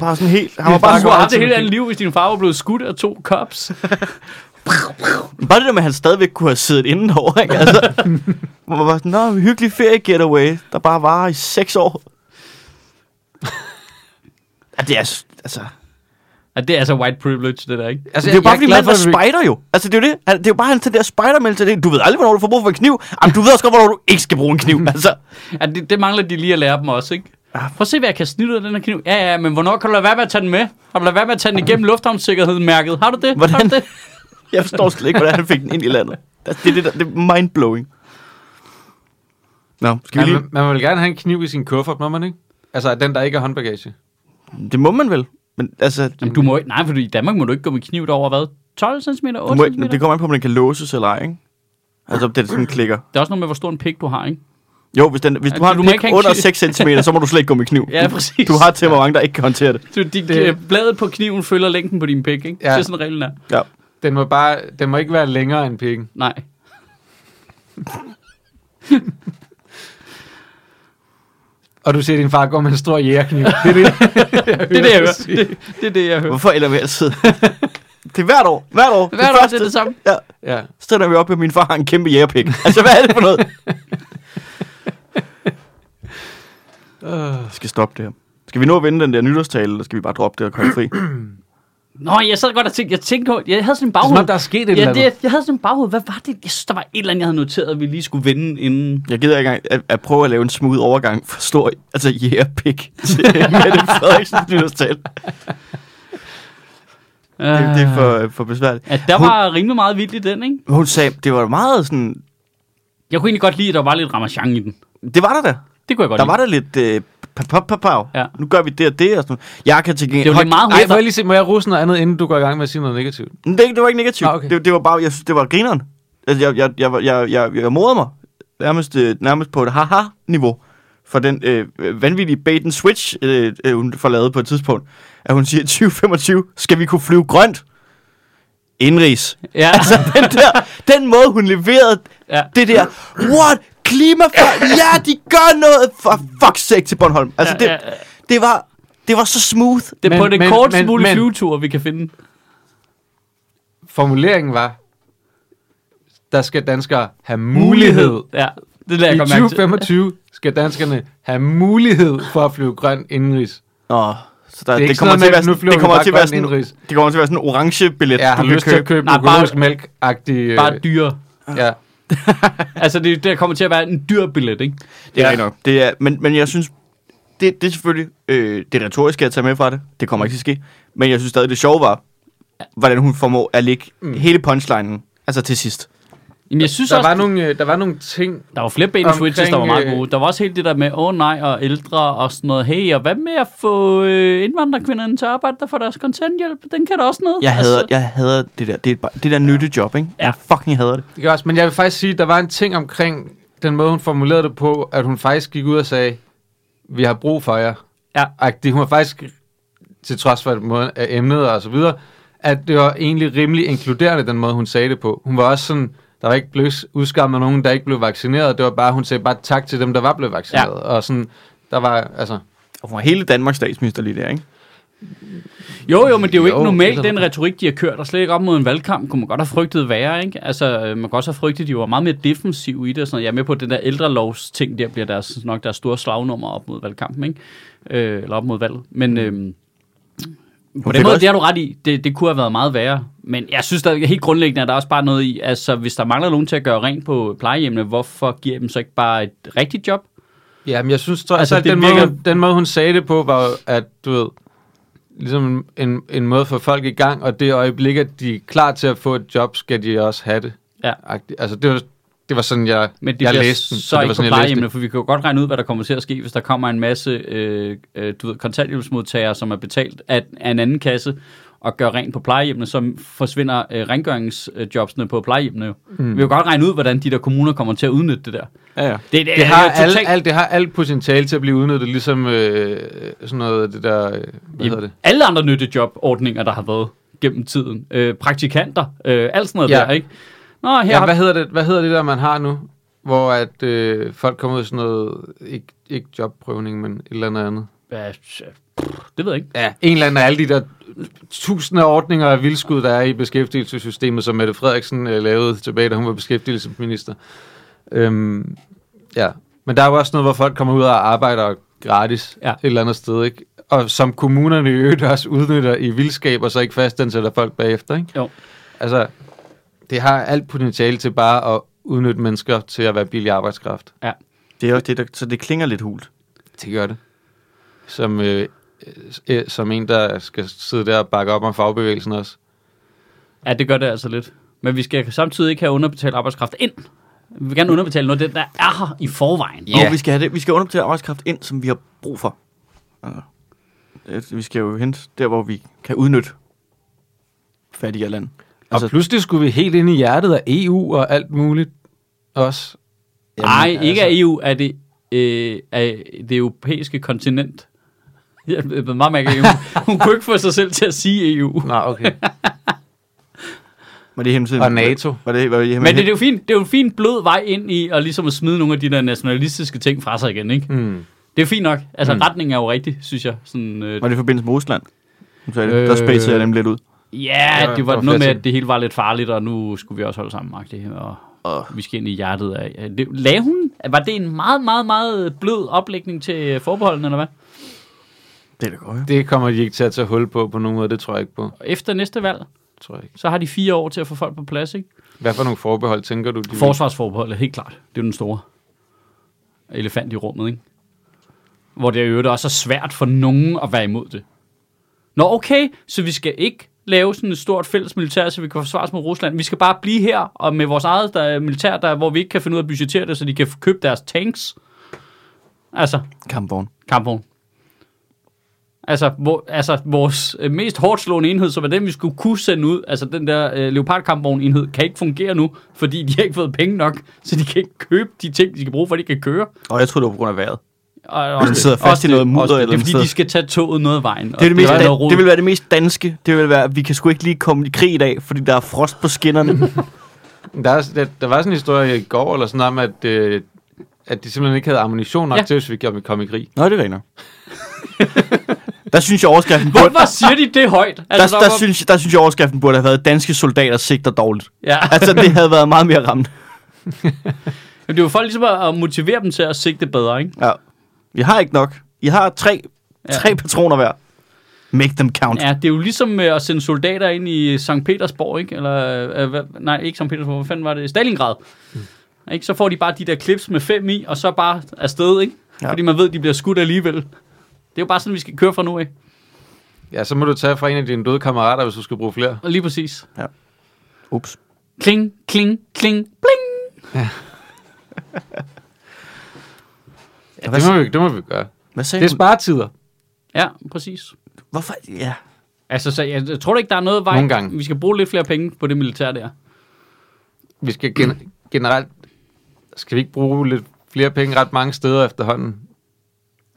S2: Bare sådan helt... Han var
S1: Bare
S2: bare,
S1: du
S2: sådan,
S1: har
S2: bare,
S1: haft det hele andet liv, hvis din far var blevet skudt af to cops.
S2: bare det der med, at han stadigvæk kunne have siddet indenover, ikke? Altså, hvor man var sådan, nå, en hyggelig ferie getaway, der bare var i seks år. Ja, det er... Altså,
S1: Ja, det er altså white privilege, det der, ikke?
S2: Altså, det er jo bare, fordi manden er
S3: at vi-
S2: spider jo. Altså, det er jo det. Han, det er jo bare hans den der spider Du ved aldrig, hvornår du får brug for en kniv. Jamen, du ved også godt, hvornår du ikke skal bruge en kniv. Altså,
S1: Ja, det, det mangler de lige at lære dem også, ikke? Prøv at se, hvad jeg kan snide ud af den her kniv. Ja, ja, men hvornår kan du lade være med at tage den med? Har du lade være med at tage den igennem lufthavnssikkerheden mærket? Har du det? Har
S2: Hvordan?
S1: du det?
S2: jeg forstår slet ikke, hvordan han fik den ind i landet. Altså, det, er det, der, det er mind-blowing. Nå, skal vi
S3: Man,
S2: lige...
S3: vil- man vil gerne have en kniv i sin kuffert, må man ikke? Altså, den, der ikke er håndbagage.
S2: Det må man vel. Men altså,
S1: Jamen, du må ikke, nej, for du- i Danmark må du ikke gå med kniv over hvad? 12 cm, 8
S2: du
S1: cm?
S2: må, ikke- det kommer an på, om den kan låses eller ej, ikke? Altså, om den sådan klikker.
S1: Det er også noget med, hvor stor en pik du har, ikke?
S2: Jo, hvis, den, hvis
S1: Ja,
S2: du har
S1: du
S2: en
S1: må
S2: pik
S1: ikke have en
S2: under
S1: kniv.
S2: 6 cm, så må du slet ikke gå med kniv.
S1: Ja, præcis.
S2: Du har til mange, der ikke kan håndtere det.
S1: Så de,
S3: Det-
S1: det... Bladet på kniven følger længden på din pik, ikke?
S3: Ja.
S1: Ja. Det er sådan reglen er.
S2: Ja.
S3: Den må, bare, den må ikke være længere end pikken.
S1: Nej.
S3: Og du siger, at din far går med en stor jægerkniv. Det er det,
S1: Det er det, jeg hører. Det, det er det, jeg hører.
S2: Hvorfor ender vi altid? det er hvert år. Hvert år.
S1: Hvert år, det er det samme.
S2: Ja.
S3: Ja.
S2: stiller vi op, at min far har en kæmpe jægerpik. altså, hvad er det for noget? Jeg skal stoppe det her. Skal vi nå at vinde den der nytårstale, eller skal vi bare droppe det og komme fri?
S1: Nå, jeg sad godt og tænkte, jeg tænkte på, jeg havde sådan en
S3: Det er som om,
S1: baghoved.
S3: der er sket et
S1: ja,
S3: eller andet.
S1: det, jeg havde sådan en baghoved. Hvad var det? Jeg synes, der var et eller andet, jeg havde noteret, at vi lige skulle vinde inden.
S2: Jeg gider ikke engang at, at prøve at lave en smooth overgang for stor, altså jægerpik til Mette Frederiksens nytårstale.
S1: Uh,
S2: Det, det er for, for besværligt.
S1: Ja, der var rimelig meget vildt i den, ikke?
S2: Hun sagde, det var meget sådan...
S1: Jeg kunne egentlig godt lide, at der var lidt ramachan i den.
S2: Det var der da.
S1: Det kunne jeg godt
S2: Der
S1: lide.
S2: var der lidt... Øh, pap, pap, pap, pap.
S1: Ja.
S2: Nu gør vi det og det og sådan noget. Jeg kan til gengæld...
S1: Det var lidt meget
S3: Ej,
S1: hurtigt.
S3: må jeg lige se, må jeg rose noget andet, inden du går i gang med at sige noget negativt?
S2: Men Det, det var ikke negativt.
S3: Nå,
S2: Ah,
S3: okay.
S2: okay. det, det, var bare, jeg synes, det var grineren. Altså, jeg, jeg, jeg, jeg, jeg, jeg morede mig nærmest, øh, nærmest på et haha-niveau for den øh, øh, vanvittige bait and switch, øh, øh, hun får lavet på et tidspunkt. At hun siger, 2025 skal vi kunne flyve grønt. Indrigs.
S1: Ja,
S2: Altså, den, der, den måde, hun leverede
S1: ja.
S2: det der, what, klimaforandring, ja, de gør noget, for fuck's sake til Bornholm. Altså,
S1: Ja,
S2: det,
S1: ja, ja.
S2: det, var, det var så smooth.
S1: Det er
S3: Men-
S1: på det
S3: men-
S1: kortest
S3: men-
S1: mulige
S3: men-
S1: flyvetur, vi kan finde.
S3: Formuleringen var, der skal danskere have mulighed.
S1: Ja, det lader
S3: I
S1: jeg godt mærke til.
S3: 2025 skal danskerne have mulighed for at flyve grøn indenrigs.
S2: Nå, så der,
S3: Det er
S2: det,
S3: ikke
S2: det, kommer
S3: sådan
S2: til at
S3: noget
S2: være,
S3: med, nu
S2: sådan-
S3: flyver
S2: det
S3: vi
S2: kommer
S3: bare
S2: til at være
S3: grøn
S2: sådan,
S3: indenrigs.
S2: det kommer til at være sådan en orange billet,
S3: Jeg har
S2: du kan
S3: lyst til at
S2: købe.
S3: købe
S1: Nej,
S3: Nej,
S1: bare-
S3: økologisk mælk-agtig... øh,
S1: Bare dyre.
S3: ja.
S1: Altså, det, der kommer til at være en dyr billet, ikke?
S2: Det er
S3: Ja.
S2: ja. nok. Det er, men, men jeg synes, det, det er selvfølgelig øh, det retoriske, jeg tager med fra det. Det kommer ikke til at ske. Men jeg synes stadig, det sjove var, hvordan hun formår at lægge mm. hele punchlinen, altså til sidst.
S1: Jamen, jeg synes
S3: Der
S1: også,
S3: var, nogle, øh, der var nogle ting,
S1: der var flere ben switches, der var
S3: Omkring, øh,
S1: meget gode. Der var også hele det der med, åh oh, nej, og ældre og sådan noget. Hey, og hvad med at få øh, indvandrerkvinderne til at arbejde der for deres kontanthjælp? Den kan der også noget.
S2: Jeg hader,
S1: Altså,
S2: jeg hader det der. Det er bare, det der nyttejob, ikke?
S1: Ja.
S2: Jeg fucking hader det.
S3: Det gør også, men jeg vil faktisk sige, der var en ting omkring den måde, hun formulerede det på, at hun faktisk gik ud og sagde, vi har brug for jer.
S1: Altså, Ja.
S3: Agtig, hun var faktisk, til trods for at måde, af emnet og så videre, at det var egentlig rimelig inkluderende, den måde, hun sagde det på. Hun var også sådan, der var ikke blev udskammet nogen, der ikke blev vaccineret. Det var bare, hun sagde bare tak til dem, der var blevet vaccineret. Ja. Og sådan, der var, altså,
S2: Og hun var hele Danmarks statsminister lige der, ikke?
S1: Jo, jo, men det er jo, jo ikke
S3: Jo,
S1: normalt,
S3: det er da-
S1: den retorik, de har kørt, og slet ikke op mod en valgkamp, kunne man godt have frygtet værre, ikke? Altså, øh, man kan også have frygtet, de var meget mere defensive i det, og sådan noget. Jeg er med på, at den der ældrelovs ting, der bliver deres, nok deres store slagnummer op mod valgkampen, ikke? Øh, eller op mod valget. Men øh, på den
S2: fik
S1: måde,
S2: også-
S1: det har du ret i. Det, det kunne have været meget værre. Men jeg synes der helt grundlæggende, at der er også bare noget i, altså hvis der mangler nogen til at gøre rent på plejehjemmene, hvorfor giver dem så ikke bare et rigtigt job?
S3: Ja, men jeg synes trods
S1: Altså,
S3: altså, alt,
S1: det
S3: den,
S1: virker-
S3: måde, den måde, hun sagde det på, var jo, at, du ved, ligesom en, en måde for folk i gang, og det øjeblik, at de er klar til at få et job, skal de også have det.
S1: Ja.
S3: Agtigt. Altså, det var, det var sådan, jeg,
S1: Men det
S3: jeg
S1: bliver
S3: læste den.
S1: så
S3: det
S1: ikke
S3: var
S1: på
S3: sådan, jeg læste
S1: plejehjemmene,
S3: det.
S1: for vi kan jo godt regne ud, hvad der kommer til at ske, hvis der kommer en masse øh, øh, du ved, kontanthjælpsmodtagere, som er betalt af, af en anden kasse, og gør rent på plejehjemmene, så forsvinder øh, rengøringsjobsene på plejehjemmene jo. Mm. Vi kan jo godt regne ud, hvordan de der kommuner kommer til at udnytte det der.
S2: Ja, ja.
S1: Det,
S3: Det har, alt,
S1: totalt-
S3: alt, det har alt potentiale til at blive udnyttet, ligesom øh, sådan noget, det der, øh, hvad hedder det?
S1: alle andre nyttejobordninger, der har været gennem tiden. Øh, praktikanter, øh, alt sådan noget
S3: Ja.
S1: der, ikke? Nå, her
S3: Ja,
S1: har
S3: hvad hedder det, hvad hedder det der, man har nu? Hvor at øh, folk kommer ud i sådan noget, ikke, ikke jobprøvning, men et eller andet andet.
S1: Ja, pff, det ved jeg ikke.
S3: ja, en eller anden af alle de der tusinde ordninger af vildskud, der er i beskæftigelsessystemet, som Mette Frederiksen øh, lavede tilbage, da hun var beskæftigelsesminister. Øhm, ja. Men der er jo også noget, hvor folk kommer ud og arbejder gratis
S1: Ja.
S3: ja. et eller andet sted, ikke? Og som kommunerne i øvrigt også udnytter i vildskab, og så ikke fastansætter folk bagefter, ikke?
S1: Jo.
S3: Altså, det har alt potentiale til bare at udnytte mennesker til at være billig arbejdskraft.
S2: Det er også det, der, så det klinger lidt hult.
S3: Det gør det. Som, øh, øh, som en, der skal sidde der og bakke op om fagbevægelsen også.
S1: Ja, det gør det altså lidt. Men vi skal samtidig ikke have underbetalt arbejdskraft ind. Vi vil gerne underbetale noget af det, der er her i forvejen.
S2: Yeah. Og vi skal, have det, vi skal underbetale arbejdskraft ind, som vi har brug for. Altså, det- vi skal jo hente der, hvor vi kan udnytte fattigere lande.
S3: Og
S2: Altså,
S3: altså, pludselig skulle vi helt ind i hjertet af EU og alt muligt også.
S1: Nej,
S3: altså.
S1: ikke af EU, er det øh, af det europæiske kontinent. Jeg ved meget mærke EU. Hun kunne ikke få sig selv til at sige E EU.
S3: Nej, okay.
S2: var det hjemmesiden?
S3: Og NATO.
S2: Var det, var det hjemme,
S1: Men det, det, er jo fint, det er jo en fin blød vej ind i at, ligesom at smide nogle af de der nationalistiske ting fra sig igen, ikke?
S3: Mm.
S1: Det er fint nok. Altså,
S3: Mm.
S1: retningen er jo rigtig, synes jeg. Sådan, øh,
S2: Var det i forbindelse med Rusland? Hun sagde det. Der
S1: Øh.
S2: spacede jeg dem lidt ud.
S1: Ja,
S3: Ja,
S1: det
S3: der
S1: var
S3: var
S1: noget med,
S3: flere ting.
S1: at det hele var lidt farligt, og nu skulle vi også holde sammen, Magde, og, og vi skal ind i hjertet af. ja, Det, lagde hun? Var det en meget, meget, meget blød oplægning til øh, forbeholdene, eller hvad?
S2: Det er da godt, ja.
S3: Det kommer de ikke til at tage hul på på nogen måde, det tror jeg ikke på.
S1: Og Efter næste valg,
S3: Tror jeg ikke.
S1: så har de fire år til at få folk på plads, ikke?
S3: Hvad for nogle forbehold tænker du? De vil-
S1: Forsvarsforbeholdet, helt klart. Det er jo den store elefant i rummet, ikke? Hvor det jo også er svært for nogen at være imod det. Nå, okay, så vi skal ikke lave sådan et stort fælles militær, så vi kan forsvare os mod Rusland. Vi skal bare blive her, og med vores eget der, militær, der, hvor vi ikke kan finde ud af at budgettere det, så de kan f- købe deres tanks. Altså,
S2: Kampvogn.
S1: kampvogn. Altså, hvor, altså vores øh, mest hårdt slående enhed, som er den, vi skulle kunne sende ud, altså den der øh, Leopard-kampvogn-enhed, kan ikke fungere nu, fordi de har ikke fået penge nok, så de kan ikke købe de ting, de skal bruge, for at de kan køre.
S2: Og jeg tror det var på grund af vejret.
S1: Og, også,
S2: sidder
S1: det-
S2: fast
S1: også
S2: i noget
S1: det-
S2: mudder
S1: også det,
S2: eller
S1: Det er
S2: noget
S1: fordi,
S2: sted.
S1: de skal tage toget noget af vejen. og
S2: Det, er det, mest,
S1: er noget
S2: dan-
S1: rod.
S2: det vil være det mest danske. Det vil være, at vi kan sgu ikke lige komme i krig i dag, fordi der er frost på skinnerne.
S3: Der, er, der, der var sådan en historie i går, eller sådan noget, om, at, øh, at de simpelthen ikke havde ammunition nok
S1: Ja.
S3: ja. til, hvis vi kom, kom i krig.
S2: Nå, det regner. der synes jeg, overskriften burde...
S1: Hvorfor siger de det højt?
S2: Der, der,
S1: Altså, var-
S2: synes, der synes jeg, overskriften burde have været, danske soldater sigter dårligt.
S1: ja.
S2: Altså, det havde været meget mere ramt.
S1: Jamen, Det er jo for ligesom at at motivere dem til at sigte bedre, ikke?
S2: Ja. Vi har ikke nok. I har tre,
S1: Ja.
S2: tre patroner hver. Make them count.
S1: Ja, det er jo ligesom øh, at sende soldater ind i St. Petersborg, ikke? Eller, øh, hvad, nej, ikke St. Petersborg, hvad fanden var det? Stalingrad. Mm. Ikke? Så får de bare de der clips med fem i, og så bare afsted, ikke? Ja.
S2: Ja.
S1: Fordi man ved, de bliver skudt alligevel. Det er jo bare sådan, vi skal køre fra nu af.
S3: Ja, så må du tage fra en af dine døde kammerater, hvis du skal bruge flere.
S1: Og lige præcis.
S2: Ups.
S1: Kling, kling, kling, bling.
S3: Ja, det, må vi, det må vi gøre.
S2: Hvad sagde
S3: Det er sparetider.
S1: Ja, præcis.
S2: Hvorfor? Ja.
S1: Altså, så jeg, jeg tror da ikke, der er noget vej.
S3: Nogle gange.
S1: Vi skal bruge lidt flere penge på det militær der.
S3: vi skal gen- generelt, skal vi ikke bruge lidt flere penge ret mange steder efterhånden?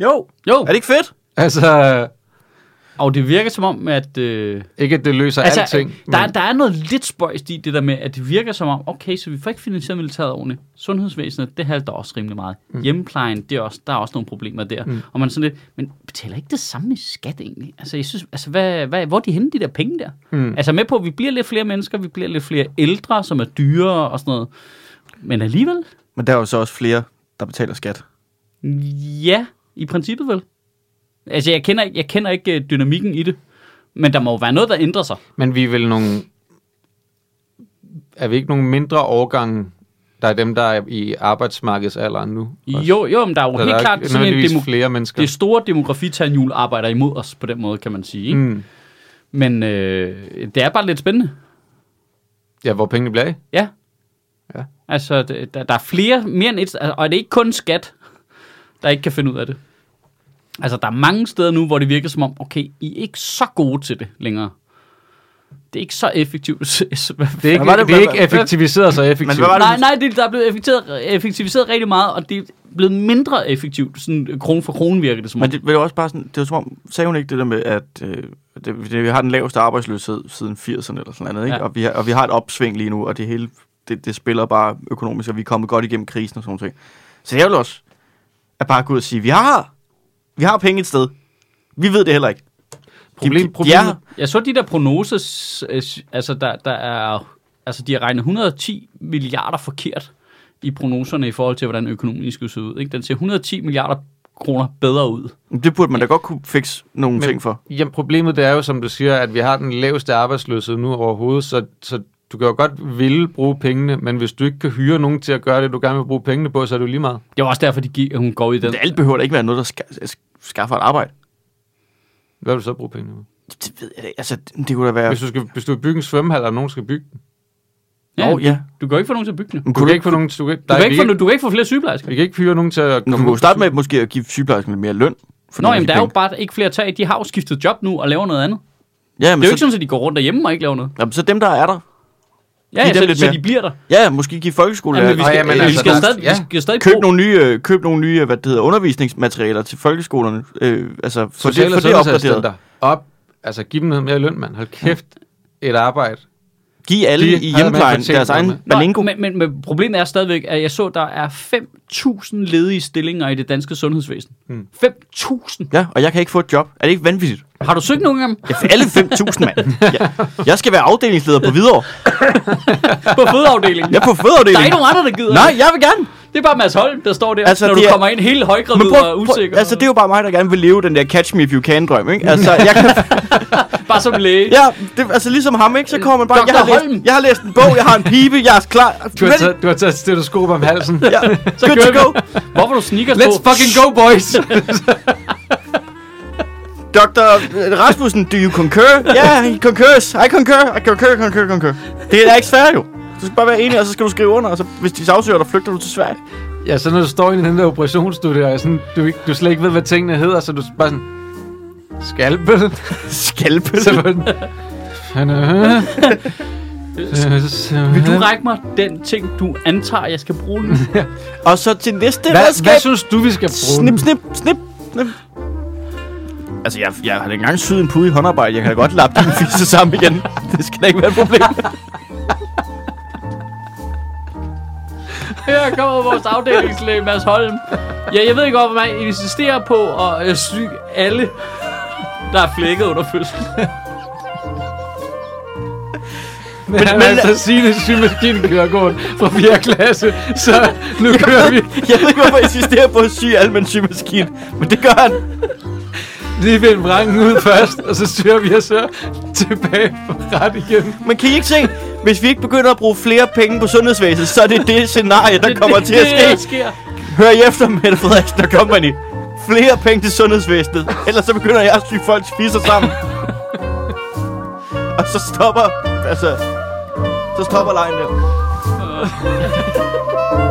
S2: Jo.
S1: Jo,
S2: Er det ikke fedt?
S3: Altså,
S1: og det virker som om, at... Øh,
S3: ikke at det løser altså,
S1: altså,
S3: alting.
S1: der, der er noget lidt spøjst i det der med, at det virker som om, okay, så vi får ikke finansieret militæret ordentligt. Sundhedsvæsenet, det halter også rimelig meget. Mm. Hjemmeplejen, det er også, der er også nogle problemer der. Mm. Og man er sådan lidt, men betaler ikke det samme i skat egentlig? Altså, jeg synes, altså hvad, hvad, hvor er de henne, de der penge der? Mm. Altså med på, at vi bliver lidt flere mennesker, vi bliver lidt flere ældre, som er dyrere og sådan noget. Men alligevel,
S2: Men der er jo så også flere, der betaler skat.
S1: Ja, i princippet vel. Altså, jeg kender, jeg kender ikke øh, dynamikken i det, men der må jo være noget, der ændrer sig.
S3: Men vi er vel nogle... Er vi ikke nogle mindre årgange, der er dem, der er i arbejdsmarkedsalderen nu? også?
S1: Jo, jo, men der er jo
S3: Så
S1: helt
S3: der
S1: klart
S3: er
S1: sådan en
S3: nødvendigvis
S1: demo-
S3: flere mennesker.
S1: det store demografitanjul arbejder imod os på den måde, kan man sige. Ikke? Mm.
S3: mm.
S1: Men øh, det er bare lidt spændende.
S3: Ja, hvor pengene bliver af.
S1: Ja.
S3: Ja.
S1: Altså, det, der, der er flere, mere end et, altså, og det er ikke kun skat, der ikke kan finde ud af det. Altså, der er mange steder nu, hvor det virker som om, okay, I er ikke så gode til det længere. Det er ikke så effektivt.
S3: Det er ikke,
S2: Hvad var
S3: det,
S2: det,
S3: det er ikke
S2: hvad-
S3: effektiviseret så effektivt.
S2: hvad var
S1: Nej,
S2: det?
S1: nej, det, der er blevet effektiviseret, effektiviseret rigtig meget, og det er blevet mindre effektivt, sådan krone for krone virker det som om.
S2: Men det, men det var også bare sådan, det var som om, sagde hun ikke det der med, at øh, det, det, vi har den laveste arbejdsløshed siden 80'erne eller sådan noget,
S1: Ja.
S2: ikke? Ja. Og, vi har, og vi har et opsving lige nu, og det hele, det, det spiller bare økonomisk, og vi er kommet godt igennem krisen og sådan noget. Så det er jo også at bare gå ud og sige, vi har, vi har penge et sted. Vi ved det heller ikke.
S3: Problem-
S2: de, de,
S3: problemet-
S2: er-
S1: Jeg så de der prognoser, øh, altså der, der er, altså de har regnet 110 milliarder forkert i prognoserne i forhold til, hvordan økonomien skulle se ud. Ikke? Den ser 110 milliarder kroner bedre ud.
S2: det burde man da godt kunne fikse nogle
S3: Men-
S2: Men, ting for.
S3: Jamen, problemet det er jo, som du siger, at vi har den laveste arbejdsløshed nu overhovedet, så, så du kan jo godt ville bruge pengene, men hvis du ikke kan hyre nogen til at gøre det, du gerne vil bruge pengene på, så er det jo lige meget.
S1: Det var også derfor, de gik, hun går i den.
S2: Alt behøver da ikke være noget, der ska, skaffer et arbejde.
S3: Hvad vil du så bruge pengene på?
S2: Det ved jeg da ikke. Altså, det kunne da være...
S3: Hvis du, skal, hvis du vil bygge en svømmehal, og nogen skal bygge den.
S1: Ja,
S2: Nå, ja.
S1: Du kan jo ikke få nogen til at bygge den.
S2: Men
S3: Du
S2: kunne
S3: kan ikke få nogen... Du kan,
S1: Du
S3: der,
S1: kan,
S3: er-
S1: ikke
S3: vi,
S1: få, du kan ikke få flere sygeplejersker.
S3: vi kan ikke hyre nogen til at...
S2: Nå, man kunne jo starte med måske at give sygeplejersken lidt mere løn. For
S1: Nå,
S2: nogle af
S1: jamen,
S2: de
S1: der er jo
S2: penge.
S1: bare ikke flere tag. De har jo skiftet job nu og laver noget andet.
S2: Ja,
S1: Det
S2: men
S1: er jo
S2: så,
S1: ikke sådan, at de går rundt derhjemme og ikke laver noget.
S2: jamen, så dem, der er der.
S1: Ja,
S2: Giv
S1: ja
S2: dem
S1: så,
S2: lidt
S1: så
S2: mere.
S1: de bliver der.
S2: Ja, ja, måske give folkeskolelærer.
S1: Jamen, vi
S3: Nå,
S1: skal,
S3: jamen,
S1: øh, vi
S3: altså,
S1: skal
S3: der-
S1: stadig,
S3: ja.
S1: vi skal stadig
S2: køb
S1: bruge-
S2: nogle nye, øh, køb nogle nye, øh, hvad det hedder, undervisningsmaterialer til folkeskolerne. Øh, altså, få det,
S3: Sociale
S2: få det opgraderet.
S3: sundhedsassistenter. Op, altså, giv dem noget mere løn, mand. Hold kæft. Et arbejde.
S2: Giv alle
S3: De
S2: i
S3: havde man
S2: hjemmeplejen
S3: fortjent
S2: deres egen
S3: noget
S1: Nå,
S2: balingo.
S1: men, men, men problemet er stadigvæk, at jeg så, der er 5.000 ledige stillinger i det danske sundhedsvæsen.
S2: Hmm.
S1: Mm. 5.000!
S2: Ja, og jeg kan ikke få et job. Er det ikke vanvittigt?
S1: Har du søgt nogen af dem?
S2: Ja, for alle 5.000, mand. Jeg, jeg skal være afdelingsleder på Hvidovre.
S1: På fødeafdelingen?
S2: Jeg er på
S1: Der er
S2: fødeafdelingen.
S1: ikke nogen andre, der gider.
S2: Nej, jeg vil gerne.
S1: Det er bare Mads Holm, der står der, altså,
S2: Altså,
S1: når du
S2: det er-
S1: kommer ind helt højgravid
S2: Men prøv,
S1: og
S2: prøv,
S1: usikker.
S2: altså, det er jo bare mig, der gerne vil leve den der catch me if you can drøm, ikke? Altså, jeg kan,
S1: Bare som læge.
S2: ja, det, altså ligesom ham, ikke? Så kommer man bare,
S1: Dr.
S2: jeg har,
S1: Holm.
S2: læst, jeg har læst en bog, jeg har en pibe, jeg er klar.
S3: Du har taget, du har taget et stetoskop om halsen.
S2: Ja,
S1: Så
S2: good to
S1: kører
S2: go.
S1: vi. Hvorfor du sneakers
S3: Let's
S1: på?
S3: fucking go, boys!
S2: Dr. Rasmussen, do you concur? Ja, yeah, he concurs. I concur. I concur, concur, concur. Det er da ikke svært jo. Du skal bare være enig, og så skal du skrive under, og så, hvis de sagsøger dig, flygter du til Sverige.
S3: Ja, så når du står i den der operationsstudie, og sådan, du, ikke- du slet ikke ved, hvad tingene hedder, så du bare sådan... Skalpel?
S2: Skalpe.
S3: så var den... Han er...
S1: Vil du række mig den ting, du antager, jeg skal bruge nu?
S2: Og så til næste
S3: Hvad, hvad
S2: redskab.
S3: synes du, vi skal bruge?
S2: Snip, snip, snip, snip. Altså, jeg, jeg har da ikke engang syet en pude i håndarbejde. Jeg kan da godt lappe dine fisse sammen igen. Det skal da ikke være et problem.
S1: Her kommer vores afdelingslæge, Mads Holm. Ja, jeg ved ikke, hvorfor man insisterer på at øh, sy alle, der er flækket under fødslen.
S3: Men, men,
S2: men-
S3: altså sine symaskine kører gården fra 4. klasse, så nu kører vi
S2: Jeg ved ikke, hvorfor jeg insisterer på at sy almen symaskine. Men det gør han.
S3: lige ved vrangen ud først, og så styrer vi os så tilbage på ret igen.
S2: Man kan I ikke se, hvis vi ikke begynder at bruge flere penge på sundhedsvæsenet, så er det det scenarie, der kommer til at
S1: Det er det,
S2: ske.
S1: der sker.
S2: Hør I efter, Mette Frederiksen og Company. Flere penge til sundhedsvæsenet, ellers så begynder jeg at syge folk spiser sammen. og så stopper, altså, så stopper lejen der.